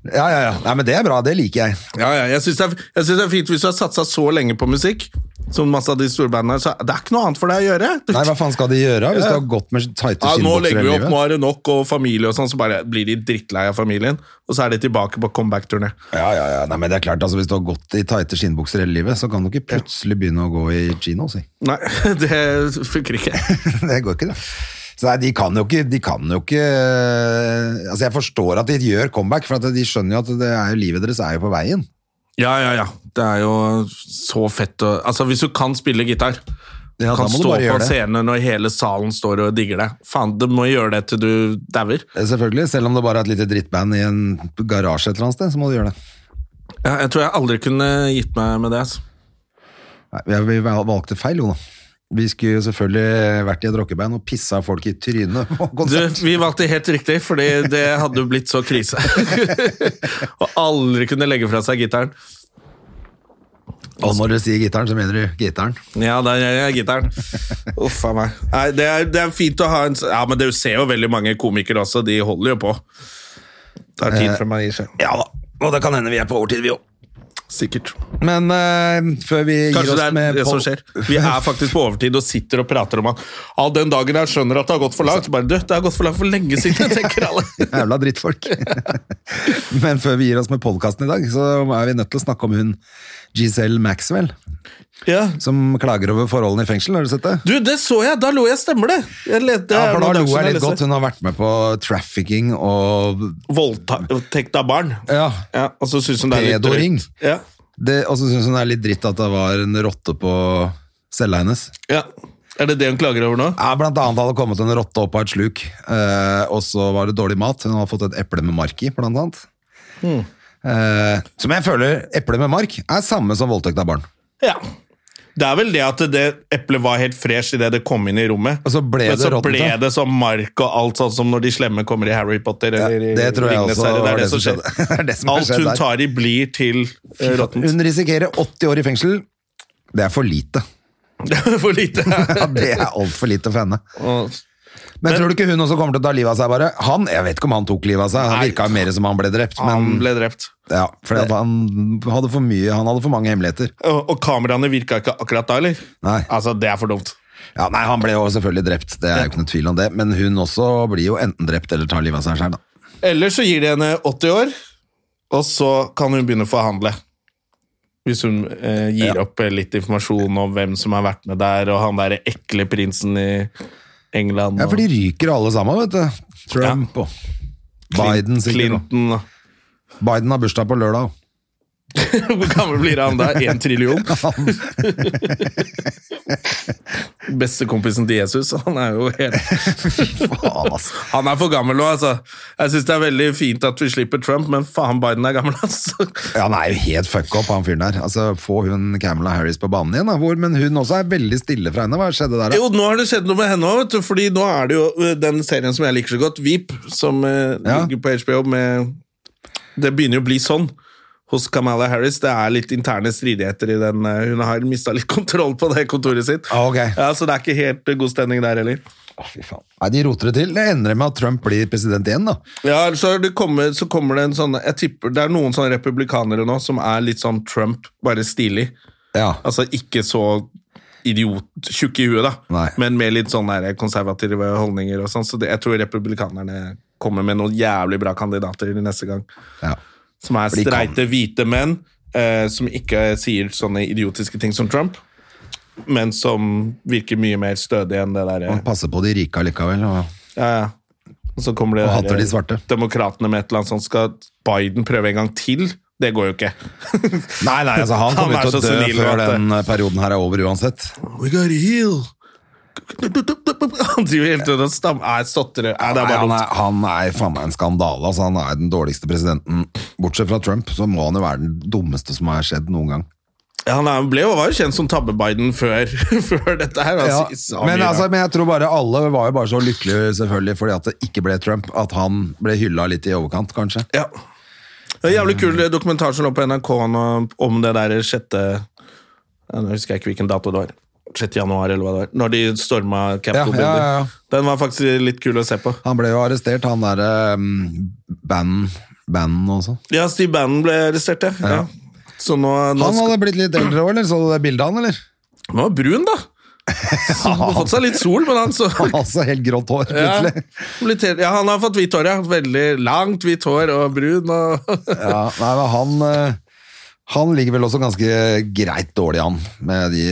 S2: Ja, ja, ja. Nei, men det er bra, det liker jeg.
S1: Ja, ja, jeg syns det, er- jeg synes det er fint hvis du har satsa så lenge på musikk, som masse av de store bandene her, så det er ikke noe annet for deg å gjøre. Du
S2: Nei, hva faen skal de gjøre hvis du har gått med tighte
S1: Ja, nå
S2: skinnbukser
S1: legger vi
S2: hele
S1: opp,
S2: livet?
S1: nå er det nok, og familie og sånn, så bare blir de drittlei av familien, og så er de tilbake på comeback-turné.
S2: Ja, ja, ja. Nei, men det er klart, altså, hvis du har gått i tighte skinnbukser hele livet, så kan du ikke plutselig begynne å gå i chino, si.
S1: Nei, det funker ikke.
S2: det går ikke, det. Så nei, de kan jo ikke, de kan jo ikke Altså, jeg forstår at de gjør comeback, for at de skjønner jo at det er, jo- livet deres er jo på veien.
S1: Ja, ja, ja. Det er jo så fett å Altså, hvis du kan spille gitar,
S2: Ja, da
S1: kan
S2: må du
S1: stå
S2: bare
S1: på
S2: gjøre
S1: en
S2: det.
S1: scene når hele salen står og digger deg Faen, du må gjøre det til du dauer.
S2: Eh, Selvfølgelig. Selv om det bare er et lite drittband i en garasje et eller annet sted, så må du gjøre det.
S1: Ja, jeg tror jeg aldri kunne gitt meg med det. Altså.
S2: Nei, jeg- vi val- valgte feil, Jona. Vi skulle jo selvfølgelig vært i et rockeband og pissa folk i trynet på
S1: Du,
S2: konsert.
S1: vi valgte helt riktig, fordi det hadde jo blitt så krise. Å aldri kunne legge fra seg gitaren.
S2: Og når du sier gitaren, så mener du gitaren.
S1: Ja, der er jeg gitaren. Uff a meg. Nei, det er, det er fint å ha en s- Ja, men du ser jo veldig mange komikere også, de holder jo på. Tar tid fra meg, gir seg.
S2: Ja da, og det kan hende vi er på overtid, vi òg.
S1: Sikkert.
S2: Men eh, før vi gir
S1: Kanskje
S2: oss
S1: det er
S2: med
S1: det som
S2: Paul-
S1: skjer. Vi er faktisk på overtid og sitter og prater om at ah, den dagen jeg skjønner at det har gått for langt, så bare du, det har gått for langt for lenge siden, tenker alle.
S2: Jævla drittfolk. Men før vi gir oss med podkasten i dag, så er vi nødt til å snakke om hun Giselle Maxwell,
S1: Ja.
S2: som klager over forholdene i fengsel. Har du sett det?
S1: Du, det så jeg! Da lo jeg stemmer det. Jeg lette,
S2: Ja, for da lo jeg litt
S1: leser.
S2: godt. Hun har vært med på trafficking og
S1: Voldtekt av barn.
S2: Ja.
S1: Ja, og så synes hun det er litt
S2: Pedoring.
S1: drøyt. Ja.
S2: Det, og så syns hun det er litt dritt at det var en rotte på cella hennes.
S1: ja. Er det det hun klager over nå?
S2: Ja, blant annet hadde det kommet en rotte opp av et sluk, eh, og så var det dårlig mat. Hun hadde fått et eple med mark i, blant annet. eh, som jeg føler eple med mark er samme som voldtekt av barn.
S1: Ja. Det er vel det at det eplet var helt fresh idet det kom inn i rommet.
S2: Og så ble
S1: Men
S2: det
S1: så
S2: råttent,
S1: ble
S2: da.
S1: det som mark og alt, sånn som når de slemme kommer i Harry Potter. Eller i
S2: det tror jeg
S1: Ringenes
S2: også
S1: herre. Det
S2: var
S1: er det
S2: det
S1: som
S2: som
S1: skjer.
S2: skjedde. Det er det som har
S1: Alt
S2: skjedd
S1: hun
S2: der.
S1: tar i, blir til eh, råttent.
S2: Hun risikerer 80 år i fengsel. Det er for lite.
S1: Det er For lite.
S2: Ja, det er altfor lite for henne.
S1: Og-
S2: Men, tror du ikke hun også kommer til å ta livet av seg, bare? Han, Jeg vet ikke om han tok livet av seg, han
S1: Nei.
S2: virka mer som han ble drept. Men,
S1: Han ble drept.
S2: ja, fordi at han hadde for mye, han hadde for mange hemmeligheter.
S1: Og, og kameraene virka ikke akkurat da, eller?
S2: Nei.
S1: Altså, det er for dumt.
S2: Ja, nei, han ble jo selvfølgelig drept, det er jo ikke noe tvil om det. Men hun også blir jo enten drept eller tar livet av seg sjøl, da.
S1: Eller så gir de henne 80 år, og så kan hun begynne å forhandle. Hvis hun eh, gir opp eh, litt informasjon om hvem som har vært med der, og han derre ekle prinsen i England.
S2: Ja, for de ryker alle sammen, vet du. Trump og Biden,
S1: og
S2: sikkert. også.
S1: Clinton. og-
S2: Biden har bursdag på lørdag. også.
S1: Hvor gammel blir han da? Én trillion? Bestekompisen til Jesus, han er jo helt
S2: Faen, altså.
S1: Han er for gammel nå, altså. Jeg syns det er veldig fint at vi slipper Trump, men faen, Biden er gammel, altså.
S2: Ja, han er jo helt fuck up, han fyren der. Altså, Få hun Camilla Harris på banen igjen, da. Hvor, men hun også er veldig stille fra henne. Hva skjedde der, da?
S1: Jo, nå har det skjedd noe med henne òg, fordi nå er det jo ø, den serien som jeg liker så godt, Veep, som ø,
S2: Ja.
S1: ligger på HBO med Det begynner jo å bli sånn hos Kamala Harris. Det er litt interne stridigheter i den. ø, Hun har mista litt kontroll på det kontoret sitt.
S2: Ah, ok.
S1: Ja, Så det er ikke helt ø, god stemning der heller.
S2: Nei, de roter det til. Det ender med at Trump blir president igjen, da.
S1: Ja, eller så, er det kommer, så kommer det en sånn Jeg tipper det er noen sånne republikanere nå som er litt sånn Trump, bare stilig.
S2: Ja.
S1: Altså ikke så idiot, tjukk i huet, da,
S2: Nei.
S1: men med litt sånn der konservative holdninger og sånn. Så det, jeg tror republikanerne kommer med noen jævlig bra kandidater neste gang.
S2: ja.
S1: Som er
S2: For de kan-
S1: streite, hvite menn eh, som ikke sier sånne idiotiske ting som Trump, men som virker mye mer stødig enn det eh, derre
S2: Han passer på de rike allikevel. Og...
S1: ja, ja. Og så kommer det
S2: Og
S1: der-
S2: hater de svarte.
S1: Demokratene med et eller annet sånt. Skal Biden prøve en gang til? Det går jo ikke.
S2: Nei, nei, altså han kommer
S1: er
S2: jo til å
S1: så
S2: dø
S1: senil nå
S2: før
S1: at-
S2: den eh, perioden her er over uansett.
S1: We gotta heal. Han driver hele tiden og stammer. Nei, stotrer. Nei, det er
S2: Nei,
S1: bare
S2: han,
S1: dumt.
S2: er, han er faen meg en skandale. Altså, han er den dårligste presidenten. Bortsett fra Trump, så må han jo være den dummeste som har skjedd noen gang.
S1: Han er, ble jo, var jo kjent som Tabbe-Biden før, før dette her.
S2: Ja,
S1: altså, sa
S2: men,
S1: mye
S2: altså,
S1: rart.
S2: men jeg tror bare alle var jo bare så lykkelige selvfølgelig fordi at det ikke ble Trump, at han ble hylla litt i overkant, kanskje.
S1: ja. Det er en jævlig kul dokumentar som lå på NRK nå om det der sjette Jeg husker jeg ikke hvilken dato det var. 6. januar, eller hva det var. Når de storma
S2: Ja, ja,
S1: Capitol Building.
S2: ja, ja.
S1: Den var faktisk litt kul å se på.
S2: Han ble jo arrestert, han derre banden band og sånn.
S1: Ja, Steve Bannon ble arrestert, ja. ja. Så nå, nå,
S2: Han
S1: skal,
S2: hadde blitt litt eldre òg, eller? Så du det bildet av han, eller?
S1: nå er han brun, da! Så han har fått seg litt sol, men han så
S2: Han har altså helt grått hår,
S1: Ja.
S2: plutselig.
S1: Litt helt- ja, han har fått hvitt hår, ja. Veldig langt hvitt hår og brun. Og
S2: Ja, nei, men han eh, Han ligger vel også ganske greit dårlig an med de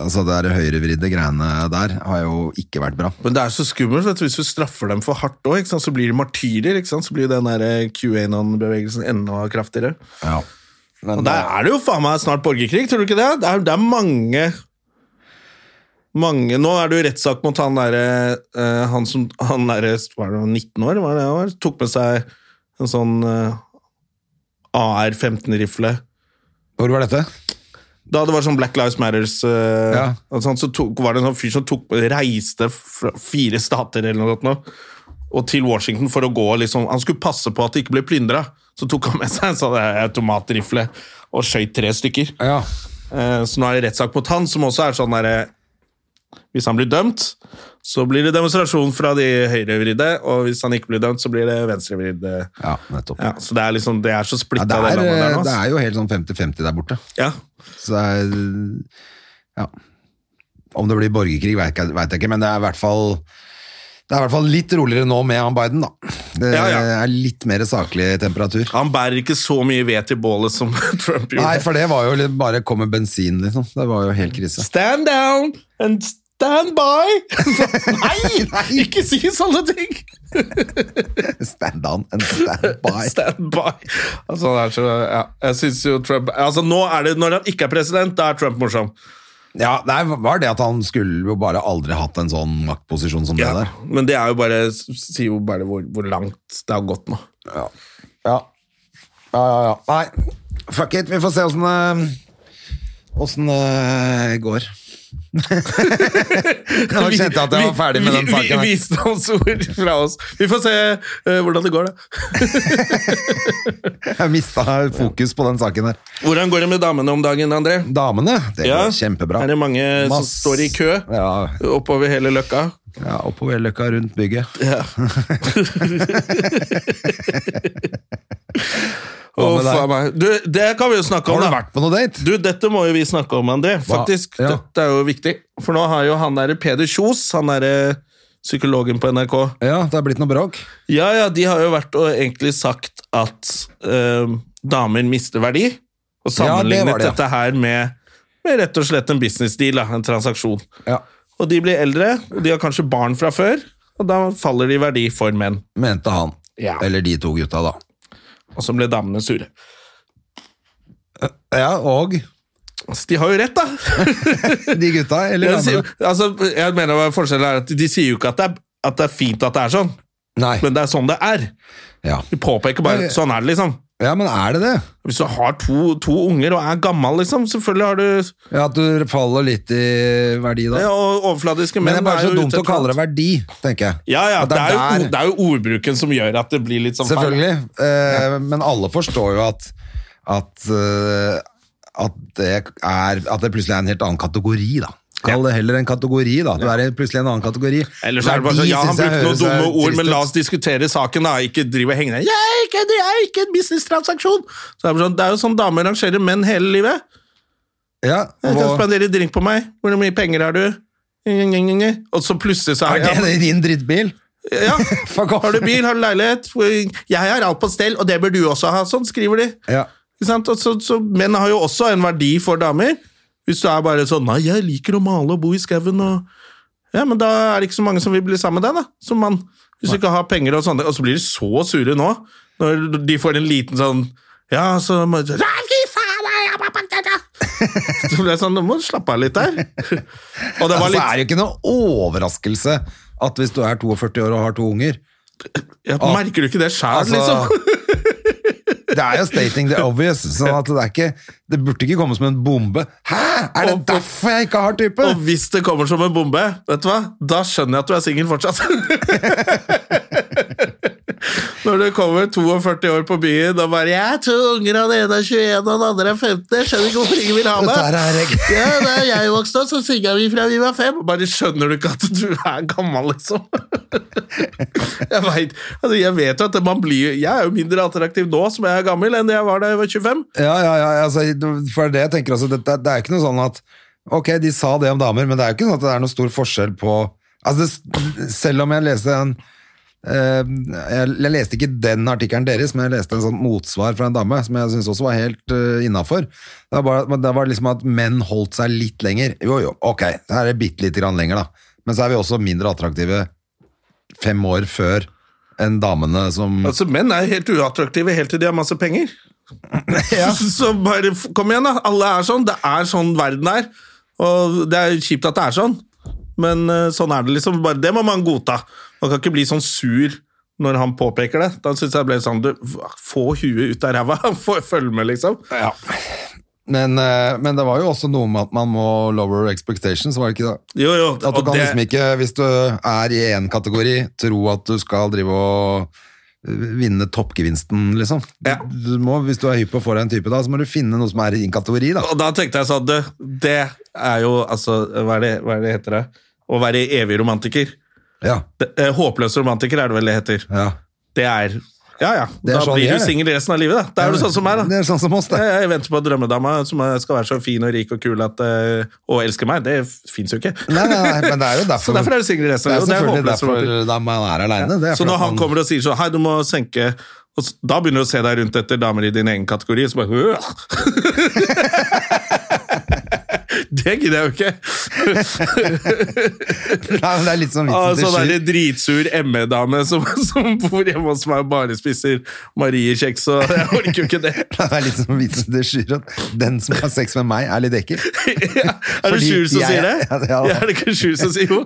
S2: Altså, det der høyrevridde greiene der har jo ikke vært bra.
S1: Men det er så skummelt, vet du. hvis du straffer dem for hardt òg, så blir de martyrer. ikke sant? Så blir den der QAnon-bevegelsen enda kraftigere.
S2: Ja. Men, eh,
S1: Og der er det jo faen meg snart borgerkrig, tror du ikke det? Det er, det er mange mange, Nå er det jo rettssak mot han derre eh, Han som han derre var det 19 år, var det det han var? Tok med seg en sånn eh, AR-15-rifle.
S2: Hvor var dette?
S1: Da det var sånn Black Lives Matters eh,
S2: Ja.
S1: og sånn, så tok, var det en sånn fyr som tok, reiste fra fire stater eller noe sånt nå, og til Washington for å gå liksom, Han skulle passe på at det ikke ble plyndra. Så tok han med seg en sånn eh, automatrifle og skjøt tre stykker.
S2: Ja.
S1: Eh, Så nå er det rettssak mot han, som også er sånn derre Hvis han blir dømt, så blir det demonstrasjon fra de høyrevridde, og hvis han ikke blir dømt, så blir det venstrevridde.
S2: ja nettopp.
S1: Ja, så det er liksom, det er så
S2: Ja,
S1: splitta,
S2: det,
S1: det,
S2: er,
S1: landet der nå.
S2: det
S1: ass.
S2: er jo helt sånn 50-50 der borte.
S1: Ja.
S2: Så det er Ja. Om det blir borgerkrig, vet jeg, vet jeg ikke, men det er i hvert fall det er i hvert fall litt roligere nå med han Biden, da. Det
S1: Ja, ja.
S2: er litt mer saklig temperatur.
S1: Han bærer ikke så mye ved til bålet som Trump gjorde.
S2: Nei, for det var jo litt- bare kom med bensin, liksom. Det var jo helt krise.
S1: Stand down and stand by! Nei, ikke si sånne ting!
S2: Stand on and stand by.
S1: Stand by. Altså, det er så, ja. Jeg synes jo Trump altså, nå er det, Når han ikke er president, da er Trump morsom.
S2: Ja, nei, var det at han skulle jo bare aldri hatt en sånn maktposisjon som det der.
S1: Men det er jo bare, sier jo bare hvor, hvor langt det har gått nå.
S2: Ja. Ja, ja, ja. Nei, fuck it. Vi får se åssen det Åssen det går. Nå kjente jeg at jeg var ferdig med den
S1: Vi- vi-
S2: saken. her.
S1: Visdomsord fra oss. Vi får se eh, hvordan det går, da.
S2: Jeg mista fokus på den saken der.
S1: Hvordan går det med damene om dagen, André?
S2: Damene, det
S1: Ja.
S2: går kjempebra.
S1: Er det mange eh, som
S2: Mass-
S1: står i kø
S2: Ja,
S1: oppover hele løkka?
S2: ja oppover løkka rundt bygget.
S1: Å,
S2: med deg?
S1: faen meg. Du, det kan vi jo snakke
S2: Har
S1: om,
S2: du
S1: da.
S2: vært på noe date?
S1: Du, dette må jo vi snakke om, André. Faktisk,
S2: Ja.
S1: Dette er jo viktig. For nå har jo han derre Peder Kjos, han derre psykologen på NRK
S2: Ja, det er blitt noe bråk.
S1: Ja, ja, de har jo vært og egentlig sagt at øhm, damer mister verdi.
S2: Ja,
S1: Og
S2: det
S1: sammenlignet
S2: var det, ja.
S1: dette her med, med rett og slett en business deal, da, en transaksjon.
S2: Ja,
S1: Og de blir eldre, og de har kanskje barn fra før, og da faller de i verdi for menn.
S2: Mente han.
S1: Ja.
S2: Eller de to gutta, da.
S1: Og så ble damene sure.
S2: Ja, og
S1: Altså, de har jo rett, da!
S2: de gutta, eller
S1: Jeg, sier, altså, jeg mener hva Forskjellen er at de sier jo ikke at det er, at det er fint at det er sånn,
S2: Nei.
S1: men det er sånn det er.
S2: Ja.
S1: De påpeker bare sånn er det, liksom.
S2: ja, men er det det?
S1: Hvis du har to, to unger og er gammel, liksom, selvfølgelig har du
S2: Ja, At du faller litt i verdi da?
S1: Ja, og overfladiske menn
S2: Men det er bare så
S1: jo
S2: dumt
S1: ute
S2: å kalle det
S1: etter alt.
S2: verdi, tenker jeg.
S1: Ja, ja,
S2: At
S1: det er, jo,
S2: der-
S1: det er jo ordbruken som gjør at det blir litt sånn feil.
S2: Selvfølgelig. eh, Men alle forstår jo at at, eh, at, det er, at det plutselig er en helt annen kategori, da. Kall det heller en kategori, da. Du er i- plutselig en annen kategori.
S1: Eller så er det bare sånn,
S2: Verdi
S1: ja,
S2: synes
S1: han
S2: jeg
S1: brukte noen
S2: høres, eh,
S1: dumme ord,
S2: trist
S1: men
S2: ut.
S1: la oss diskutere saken, da. Ikke drive og henge deg. Jeg er ikke, det er ikke en business-transaksjon! Så Det er, bare sånn, det er jo sånn damer rangerer menn hele livet.
S2: ja,
S1: Jeg kan
S2: og,
S1: spandere drink på meg. Hvor mye penger har du? Og så plutselig så
S2: Er
S1: er
S2: det
S1: det
S2: din drittbil?
S1: ja,
S2: Fuck off.
S1: Har du bil, har du leilighet? Jeg har alt på stell, og det bør du også ha. Sånn skriver de.
S2: Ja.
S1: Ikke sant? Og så, så menn har jo også en verdi for damer. Hvis du er bare sånn 'Nei, jeg liker å male og bo i skauen' og Ja, men da er det ikke så mange som vil bli sammen med deg, da, som mann. Hvis du ikke har penger og sånne Og så blir de så sure nå, når de får en liten sånn Ja, så må de sånn, «Ja, fy faen, jeg er bare- Så blir jeg sånn, nå må du slappe av litt der. Og det
S2: Altså,
S1: var
S2: det er
S1: litt
S2: jo ikke noe overraskelse at hvis du er 42 år og har to unger
S1: ja, Merker du ikke sånn- det sjæl,
S2: Altså,
S1: liksom?
S2: Det er jo stating the obvious, sånn at det, er ikke, det burde ikke komme som en bombe. Hæ? Er det
S1: Og-
S2: derfor jeg ikke har type?
S1: Og hvis det kommer som en bombe, vet du hva? Da skjønner jeg at du er singel fortsatt. Når det kommer 42 år på byen og bare 'Jeg har to unger, og den ene er 21, og den andre er 15.' Jeg skjønner ikke hvorfor ingen vil ha
S2: Dette her
S1: meg.
S2: er jeg.
S1: Ja, da jeg vokste opp, så singa vi fra vi var fem. Bare skjønner du ikke at du er gammel, liksom? Jeg vet, altså jeg vet jo at man blir Jeg er jo mindre attraktiv nå som jeg er gammel, enn jeg var da jeg var 25.
S2: Ja, ja, ja, altså, for det jeg tenker også, det, det er ikke noe sånn at Ok, de sa det om damer, men det er jo ikke sånn at det er noe stor forskjell på altså, det, Selv om jeg leste en eh, jeg, jeg leste ikke den artikkelen deres, men jeg leste en sånn motsvar fra en dame som jeg syntes også var helt uh, innafor. Det, var bare- men det var liksom at menn holdt seg litt lenger. Jo, jo, ok, da er det bitte lite grann lenger, da. Men så er vi også mindre attraktive fem år før enn damene som
S1: Altså, Menn er helt uattraktive helt til de har masse penger. Så bare f- kom igjen, da. Alle er sånn. Det er sånn verden er. Og det er kjipt at det er sånn, men eh, sånn er det liksom. Bare det må man godta. Man kan ikke bli sånn sur når han påpeker det. Da syns jeg det ble sånn du, Få huet ut av ræva! Få- Følg med, liksom.
S2: Men, eh, men det var jo også noe med at man må lower expectations, var det ikke det?
S1: Jo, jo.
S2: At du
S1: og
S2: kan
S1: det-
S2: liksom ikke, hvis du er i én kategori, tro at du skal drive og vinne toppgevinsten, liksom.
S1: Ja.
S2: Du må, hvis du er hypp på å få deg en type, da, så må du finne noe som er i din kategori, da.
S1: Og da tenkte jeg sånn, du, det er jo altså Hva er det, hva er det heter det? Å være evig romantiker.
S2: Ja,
S1: Det- eh, Håpløs romantiker er det vel det heter.
S2: ja.
S1: Det er Ja, ja.
S2: Det er
S1: da
S2: sånn vi
S1: blir
S2: er,
S1: du
S2: det.
S1: singel resten av livet, da. Det er jo sånn som meg,
S2: Det
S1: da.
S2: er sånn som oss, det.
S1: Jeg, jeg venter på drømmedama som er- skal være så fin og rik og kul at, eh, og elsker meg. Det fins jo ikke.
S2: Nei, nei, nei, men det er jo derfor
S1: Så derfor er du singel resten
S2: det
S1: av
S2: er
S1: livet. og Det er
S2: selvfølgelig derfor
S1: håpløst romantisk.
S2: da man er aleine.
S1: Så når han kommer og sier sånn Hei, du må senke og s- Da begynner du å se deg rundt etter damer i din egen kategori, og så bare «Åh!» det gidder jeg jo ikke.
S2: Nei, men det er litt sånn
S1: Ah,
S2: vitsen til
S1: Sånn
S2: Sjur.
S1: er det dritsur ME-dame som, som bor hjemme hos meg og bare spiser Marie-kjeks, og jeg orker jo ikke det.
S2: Det er litt som vitsen til Sjur at den som har sex med meg, er litt ekkel.
S1: Ja, er det
S2: Fordi
S1: Sjur som
S2: jeg-
S1: sier det?
S2: Ja, det er det.
S1: er det ikke Sjur som sier jo?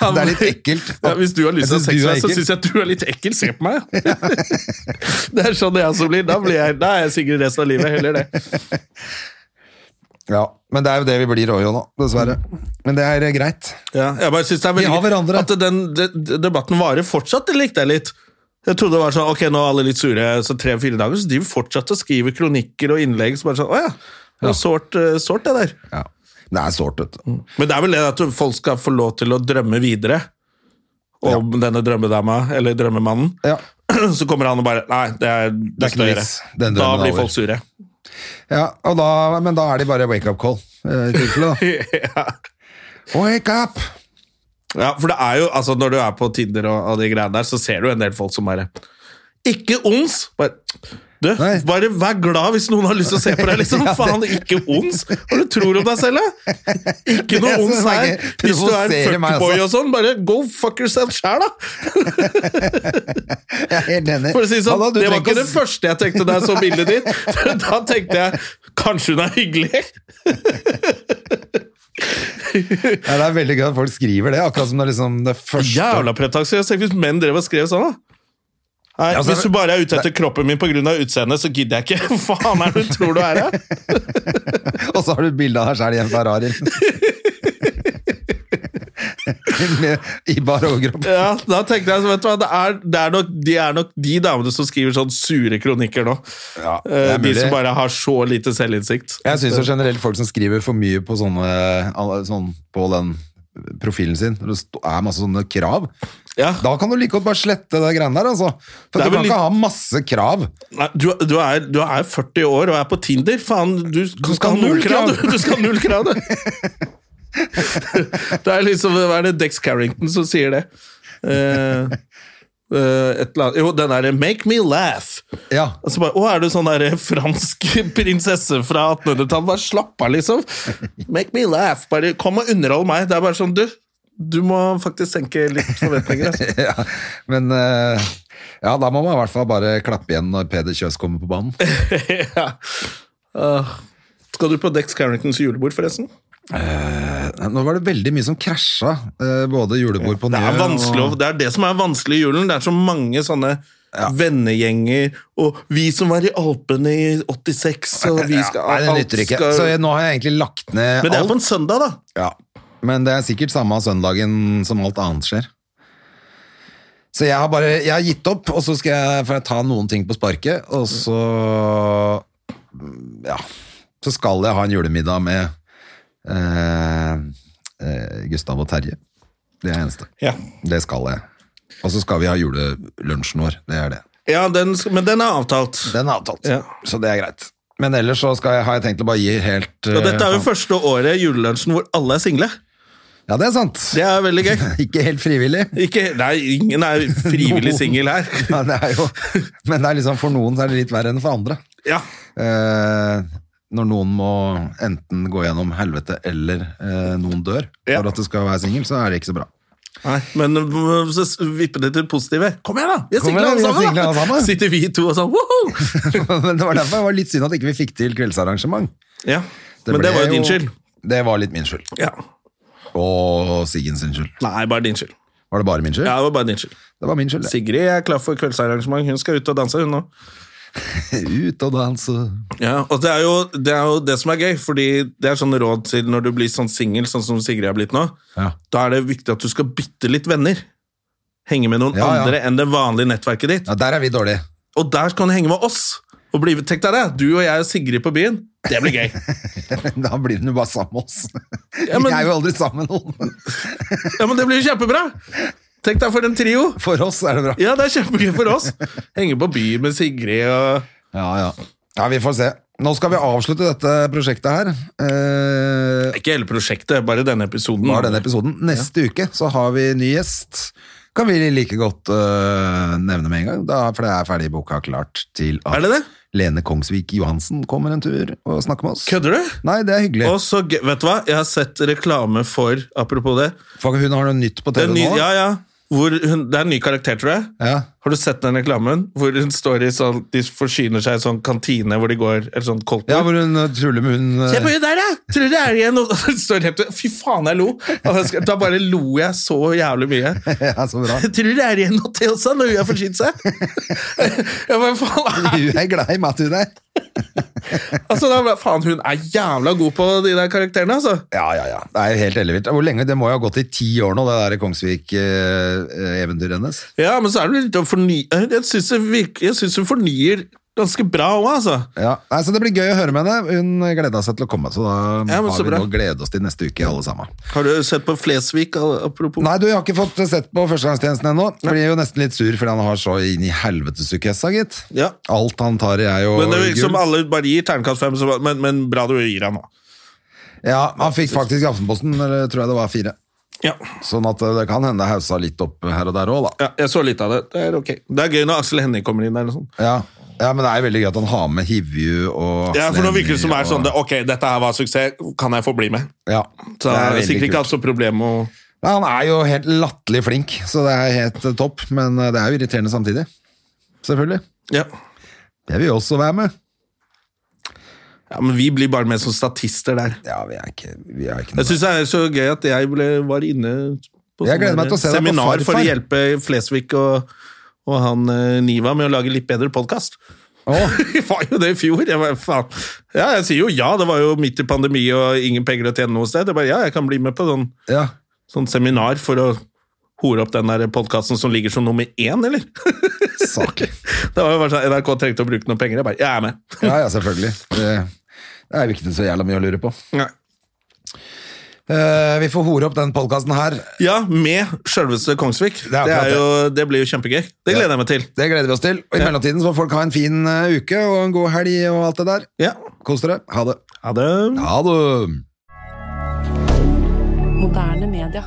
S1: Han-
S2: Det er litt ekkelt.
S1: Ja, hvis du har lyst til
S2: Jeg synes
S1: å ha sex
S2: du er
S1: med meg, så
S2: ekkel.
S1: syns jeg du er litt ekkel. Se på meg! Det er sånn jeg også blir. Da, blir jeg, da er jeg singel resten av livet. Heller det.
S2: Ja, Men det er jo det vi blir òg, nå, dessverre.
S1: Mm.
S2: Men det er eh, greit.
S1: Ja, jeg bare synes det er
S2: Vi har
S1: veldig
S2: hverandre.
S1: At den de, de- debatten varer fortsatt, det likte jeg litt. Jeg trodde det var sånn, ok, nå er alle litt sure, så tre-fire dager, så de fortsatt å skrive kronikker og innlegg, så bare sånn, åja, det var sårt, eh, sårt det der.
S2: Ja. Det er sårt, vet du.
S1: Men det er vel det at folk skal få lov til å drømme videre om denne drømmedama, eller drømmemannen.
S2: Ja.
S1: Så kommer han og bare, nei, det er, det
S2: er ikke noe
S1: større.
S2: vits. Den
S1: Da
S2: drømmen er
S1: blir
S2: over.
S1: folk sure.
S2: Ja, og da, men da er de bare wake up call. eh, I tilfelle, da.
S1: ja.
S2: Wake up!
S1: Ja, for det er jo, altså når du er på Tinder og, og de greiene der, så ser du en del folk som bare Ikke ons! Bare, du,
S2: Nei.
S1: bare vær glad hvis noen har lyst til å se på deg, liksom.
S2: Ja, det-
S1: Faen, ikke ons! Hva du tror om deg selv, da? Ikke noe
S2: Det som
S1: ons
S2: er
S1: her.
S2: gøy,
S1: Hvis du er
S2: provoserer meg
S1: fuckboy
S2: også.
S1: og sånn, bare go fuck yourself sjæl, da!
S2: Jeg er helt enig.
S1: For å si det sånn,
S2: Halla, du
S1: Det var
S2: trenger
S1: ikke det
S2: å-
S1: første jeg tenkte da jeg så bildet ditt. Da tenkte jeg kanskje hun er hyggelig.
S2: Ja, det er veldig gøy at folk skriver det, akkurat som det er liksom det første
S1: Jævla pretensiøst. Tenk hvis menn drev og skrev sånn, da. Nei,
S2: Ja, altså,
S1: Hvis du bare er ute etter kroppen min pga. utseendet, så gidder jeg ikke. Faen er det du tror du er? da?
S2: Og så har du bilde av deg sjæl i en Ferrari. Med, I bar overkropp.
S1: Ja, da tenkte jeg, så vet du hva, det er, det er nok, De er nok de damene som skriver sånn sure kronikker nå.
S2: Ja, det
S1: Eh,
S2: er
S1: de
S2: mulig.
S1: som bare har så lite selvinnsikt.
S2: Jeg syns jo generelt folk som skriver for mye på sånne alle- sånn, på den profilen sin, når det sto- er masse sånne krav,
S1: Ja.
S2: da kan du like godt bare slette det greiene der, altså. For
S1: Det er
S2: du kan
S1: vel
S2: ikke
S1: litt-
S2: ha masse krav.
S1: Nei, du, du, er, du er 40 år og er på Tinder. Faen, du, skal,
S2: skal
S1: ha null krav!
S2: krav.
S1: Du, du skal ha null krav, du! det er liksom Hva er det Dex Carrington som sier det? Eh, eh, et eller annet Jo, den derre 'Make me laugh'.
S2: Ja.
S1: Og så bare, Å, er du sånn der fransk prinsesse fra 1800-tallet? Bare slapp av, liksom. Make me laugh. Bare kom og underhold meg. Det er bare sånn, du. Du må faktisk senke litt forventninger. Altså.
S2: ja. Men eh, ja, da må man i hvert fall bare klappe igjen når Peder Kjøs kommer på banen.
S1: ja. Åh. Ah. skal du på Dex Carringtons julebord, forresten?
S2: Nå var det veldig mye som krasja, eh, både julebord på
S1: Det er
S2: Njø
S1: vanskelig, å- det er det som er vanskelig i julen. Det er så mange sånne vennegjenger, og vi som var i Alpene i 86, og vi skal
S2: Nei, det
S1: alt
S2: nytter ikke.
S1: skal-
S2: Så jeg, nå har jeg egentlig lagt ned
S1: Men det er på
S2: alt.
S1: en søndag, da.
S2: Ja. Men det er sikkert samme søndagen som alt annet skjer. Så jeg har bare jeg har gitt opp, og så skal jeg, får jeg ta noen ting på sparket, og så Ja. Så skal jeg ha en julemiddag med eh, eh, Gustav og Terje. Det er det eneste.
S1: Ja.
S2: Det skal jeg. Og så skal vi ha julelunsjen vår. Det er det.
S1: ja den, skal- men den er avtalt.
S2: Den er avtalt,
S1: Ja.
S2: så det er greit. Men ellers så skal jeg, har jeg tenkt å bare gi helt
S1: Og dette er jo
S2: eh,
S1: første året i julelunsjen hvor alle er single.
S2: Ja, det er sant.
S1: Det er veldig gøy.
S2: Ikke helt frivillig.
S1: Ikke, nei, ingen er frivillig
S2: Noen.
S1: singel her.
S2: Ja, det er jo, men det er liksom, for noen så er det litt verre enn for andre.
S1: Ja,
S2: Eh, når noen må enten gå gjennom helvete eller eh, noen dør
S1: Ja.
S2: for at du skal være singel, så er det ikke så bra.
S1: nei, Men øh, så vippe det til det positive. Kom igjen, da! Vi er
S2: Kom
S1: single
S2: igjen, vi er
S1: alle sammen!
S2: single alle
S1: da.
S2: sammen.
S1: Sitter vi to og sånn woho!
S2: men det var derfor det var litt synd at ikke vi fikk til kveldsarrangement.
S1: Ja, Men
S2: ble
S1: det var jo din skyld.
S2: Det var litt min skyld.
S1: Ja.
S2: Og Siggen sin skyld.
S1: Nei, bare din skyld.
S2: Var det bare min skyld?
S1: Ja, det var bare din skyld.
S2: Det var min skyld, det.
S1: Sigrid er klar for kveldsarrangement. Hun skal ut og danse, hun nå.
S2: Ut og danse.
S1: Ja, og det er, jo, det er jo det som er gøy, fordi det er sånn råd til når du blir sånn singel, sånn som Sigrid er blitt nå.
S2: Ja.
S1: Da er det viktig at du skal bytte litt venner. Henge med noen
S2: Ja, ja.
S1: andre enn det vanlige nettverket ditt.
S2: ja, der er vi dårlige.
S1: Og der skal hun henge med oss. Og bli, tenk deg det, du og jeg og Sigrid på byen. Det blir gøy.
S2: Da blir den jo bare sammen med oss.
S1: Ja, men-
S2: Vi er jo aldri sammen med noen.
S1: Ja, men Det blir jo kjempebra! Tenk deg for en trio.
S2: For oss er det bra.
S1: Ja, det er kjempegøy for oss. Henge på byen med Sigrid og
S2: Ja, ja. Ja, vi får se. Nå skal vi avslutte dette prosjektet her. Eh,
S1: Ikke hele prosjektet, bare denne episoden.
S2: var denne episoden. Neste uke så har vi ny gjest. Kan vi like godt eh, nevne med en gang, da, for det er ferdig boka klart til at
S1: Er det det?
S2: Lene Kongsvik Johansen kommer en tur og snakker med oss.
S1: Kødder du?
S2: Nei, det er hyggelig.
S1: Og så, gøy- vet du hva? Jeg har sett reklame for, apropos det,
S2: Fuck, hun har noe nytt på
S1: det
S2: TV
S1: er, ny,
S2: nå.
S1: ja, ja, hvor hun, det er en ny karakter, tror jeg.
S2: Ja.
S1: Har du sett den reklamen hvor hun står i sånn, de forsyner seg i sånn kantine hvor de går eller sånn
S2: Ja,
S1: koldtbord?
S2: hvor hun eh, truller med hun eh,
S1: Se på det der, ja! Tror du det er igjen? Og hun står helt, Fy faen, jeg lo! Og jeg skal- Da bare lo jeg så jævlig mye.
S2: eh, Ja, så bra.
S1: Tror du det er igjen noe til også når hun har forsynt seg? Jeg bare, faen,
S2: Hun er glad i meg, hun der.
S1: altså, da, bare, faen, hun er jævla god på de der karakterene, altså.
S2: Ja, ja, ja. Det er jo helt ellevilt. Hvor lenge? Det må jo ha gått i ti år nå, det der Kongsvik-eventyret hennes.
S1: Ja, men så er det litt å fornye Jeg syns det virker- jeg syns hun fornyer ganske bra òg, altså.
S2: Ja. Nei, så det blir gøy å høre med henne. Hun gleda seg til å komme, så da
S1: Ja, men
S2: har
S1: så
S2: vi
S1: bra.
S2: noe å glede oss til neste uke, alle sammen.
S1: Har du sett på Flesvig, al- apropos?
S2: Nei, du, jeg har ikke fått sett på førstegangstjenesten ennå. Blir jo nesten litt sur fordi han har så inn i helvetes sukkessa, gitt.
S1: Ja.
S2: Alt han tar i er jo
S1: Men det virker som
S2: gull.
S1: alle bare gir terningkast fem, så- men, men bra du gir han, da.
S2: Ja, han fikk faktisk i Aftenposten, eller tror jeg det var fire.
S1: Ja.
S2: Sånn at det kan hende hausa litt opp her og der òg, da.
S1: ja. Jeg så litt av det. Det er ok. Det er gøy når Aksel Hennie kommer inn. Eller sånn.
S2: Ja. ja, men det er jo veldig gøy at han har med Hivju og
S1: Ja, for nå virker det som det er
S2: Aksel
S1: sånn
S2: Hennie
S1: det, Ok, dette her var suksess, kan jeg få bli med?
S2: og- Ja.
S1: Så det er
S2: veldig
S1: sikkert ikke
S2: kult.
S1: hatt så problem med å
S2: Nei, han er jo helt latterlig flink, så det er helt eh, topp. Men eh, det er jo irriterende samtidig. Selvfølgelig.
S1: ja.
S2: Jeg vil jo også være med.
S1: ja, men vi blir bare med som statister der.
S2: Ja, vi er ikke, vi er ikke
S1: Jeg
S2: noe
S1: syns det er så gøy at jeg ble, var inne på
S2: Jeg gleder
S1: sånn
S2: meg til å se deg på
S1: seminar for å
S2: Farfar.
S1: hjelpe Flesvig og, og han eh, Niva med å lage litt bedre podkast.
S2: Åh,
S1: Vi var jo det i fjor. Jeg bare, faen. Ja, jeg sier jo ja, det var jo midt i pandemi og ingen penger å tjene noe sted. Jeg bare, ja, jeg kan bli med på sånn,
S2: ja.
S1: sånn seminar for å hore opp den der podkasten som ligger som nummer én, eller?
S2: Saklig.
S1: Det var jo bare sånn, NRK trengte å bruke noen penger. Jeg bare, jeg er med.
S2: Ja, ja, selvfølgelig. Det, det er jo ikke så jævla mye å lure på.
S1: Nei.
S2: Eh, vi får hore opp den podkasten her.
S1: Ja, med sjølveste Kongsvik. Det,
S2: akkurat
S1: er jo, det blir jo kjempegøy. Det gleder jeg meg til.
S2: Det gleder vi oss til. Og I mellomtiden så får folk ha en fin eh, uke og en god helg og alt det der.
S1: Ja.
S2: Kos dere. Ha det.
S1: Ha det.
S2: Ha det.
S3: Moderne media.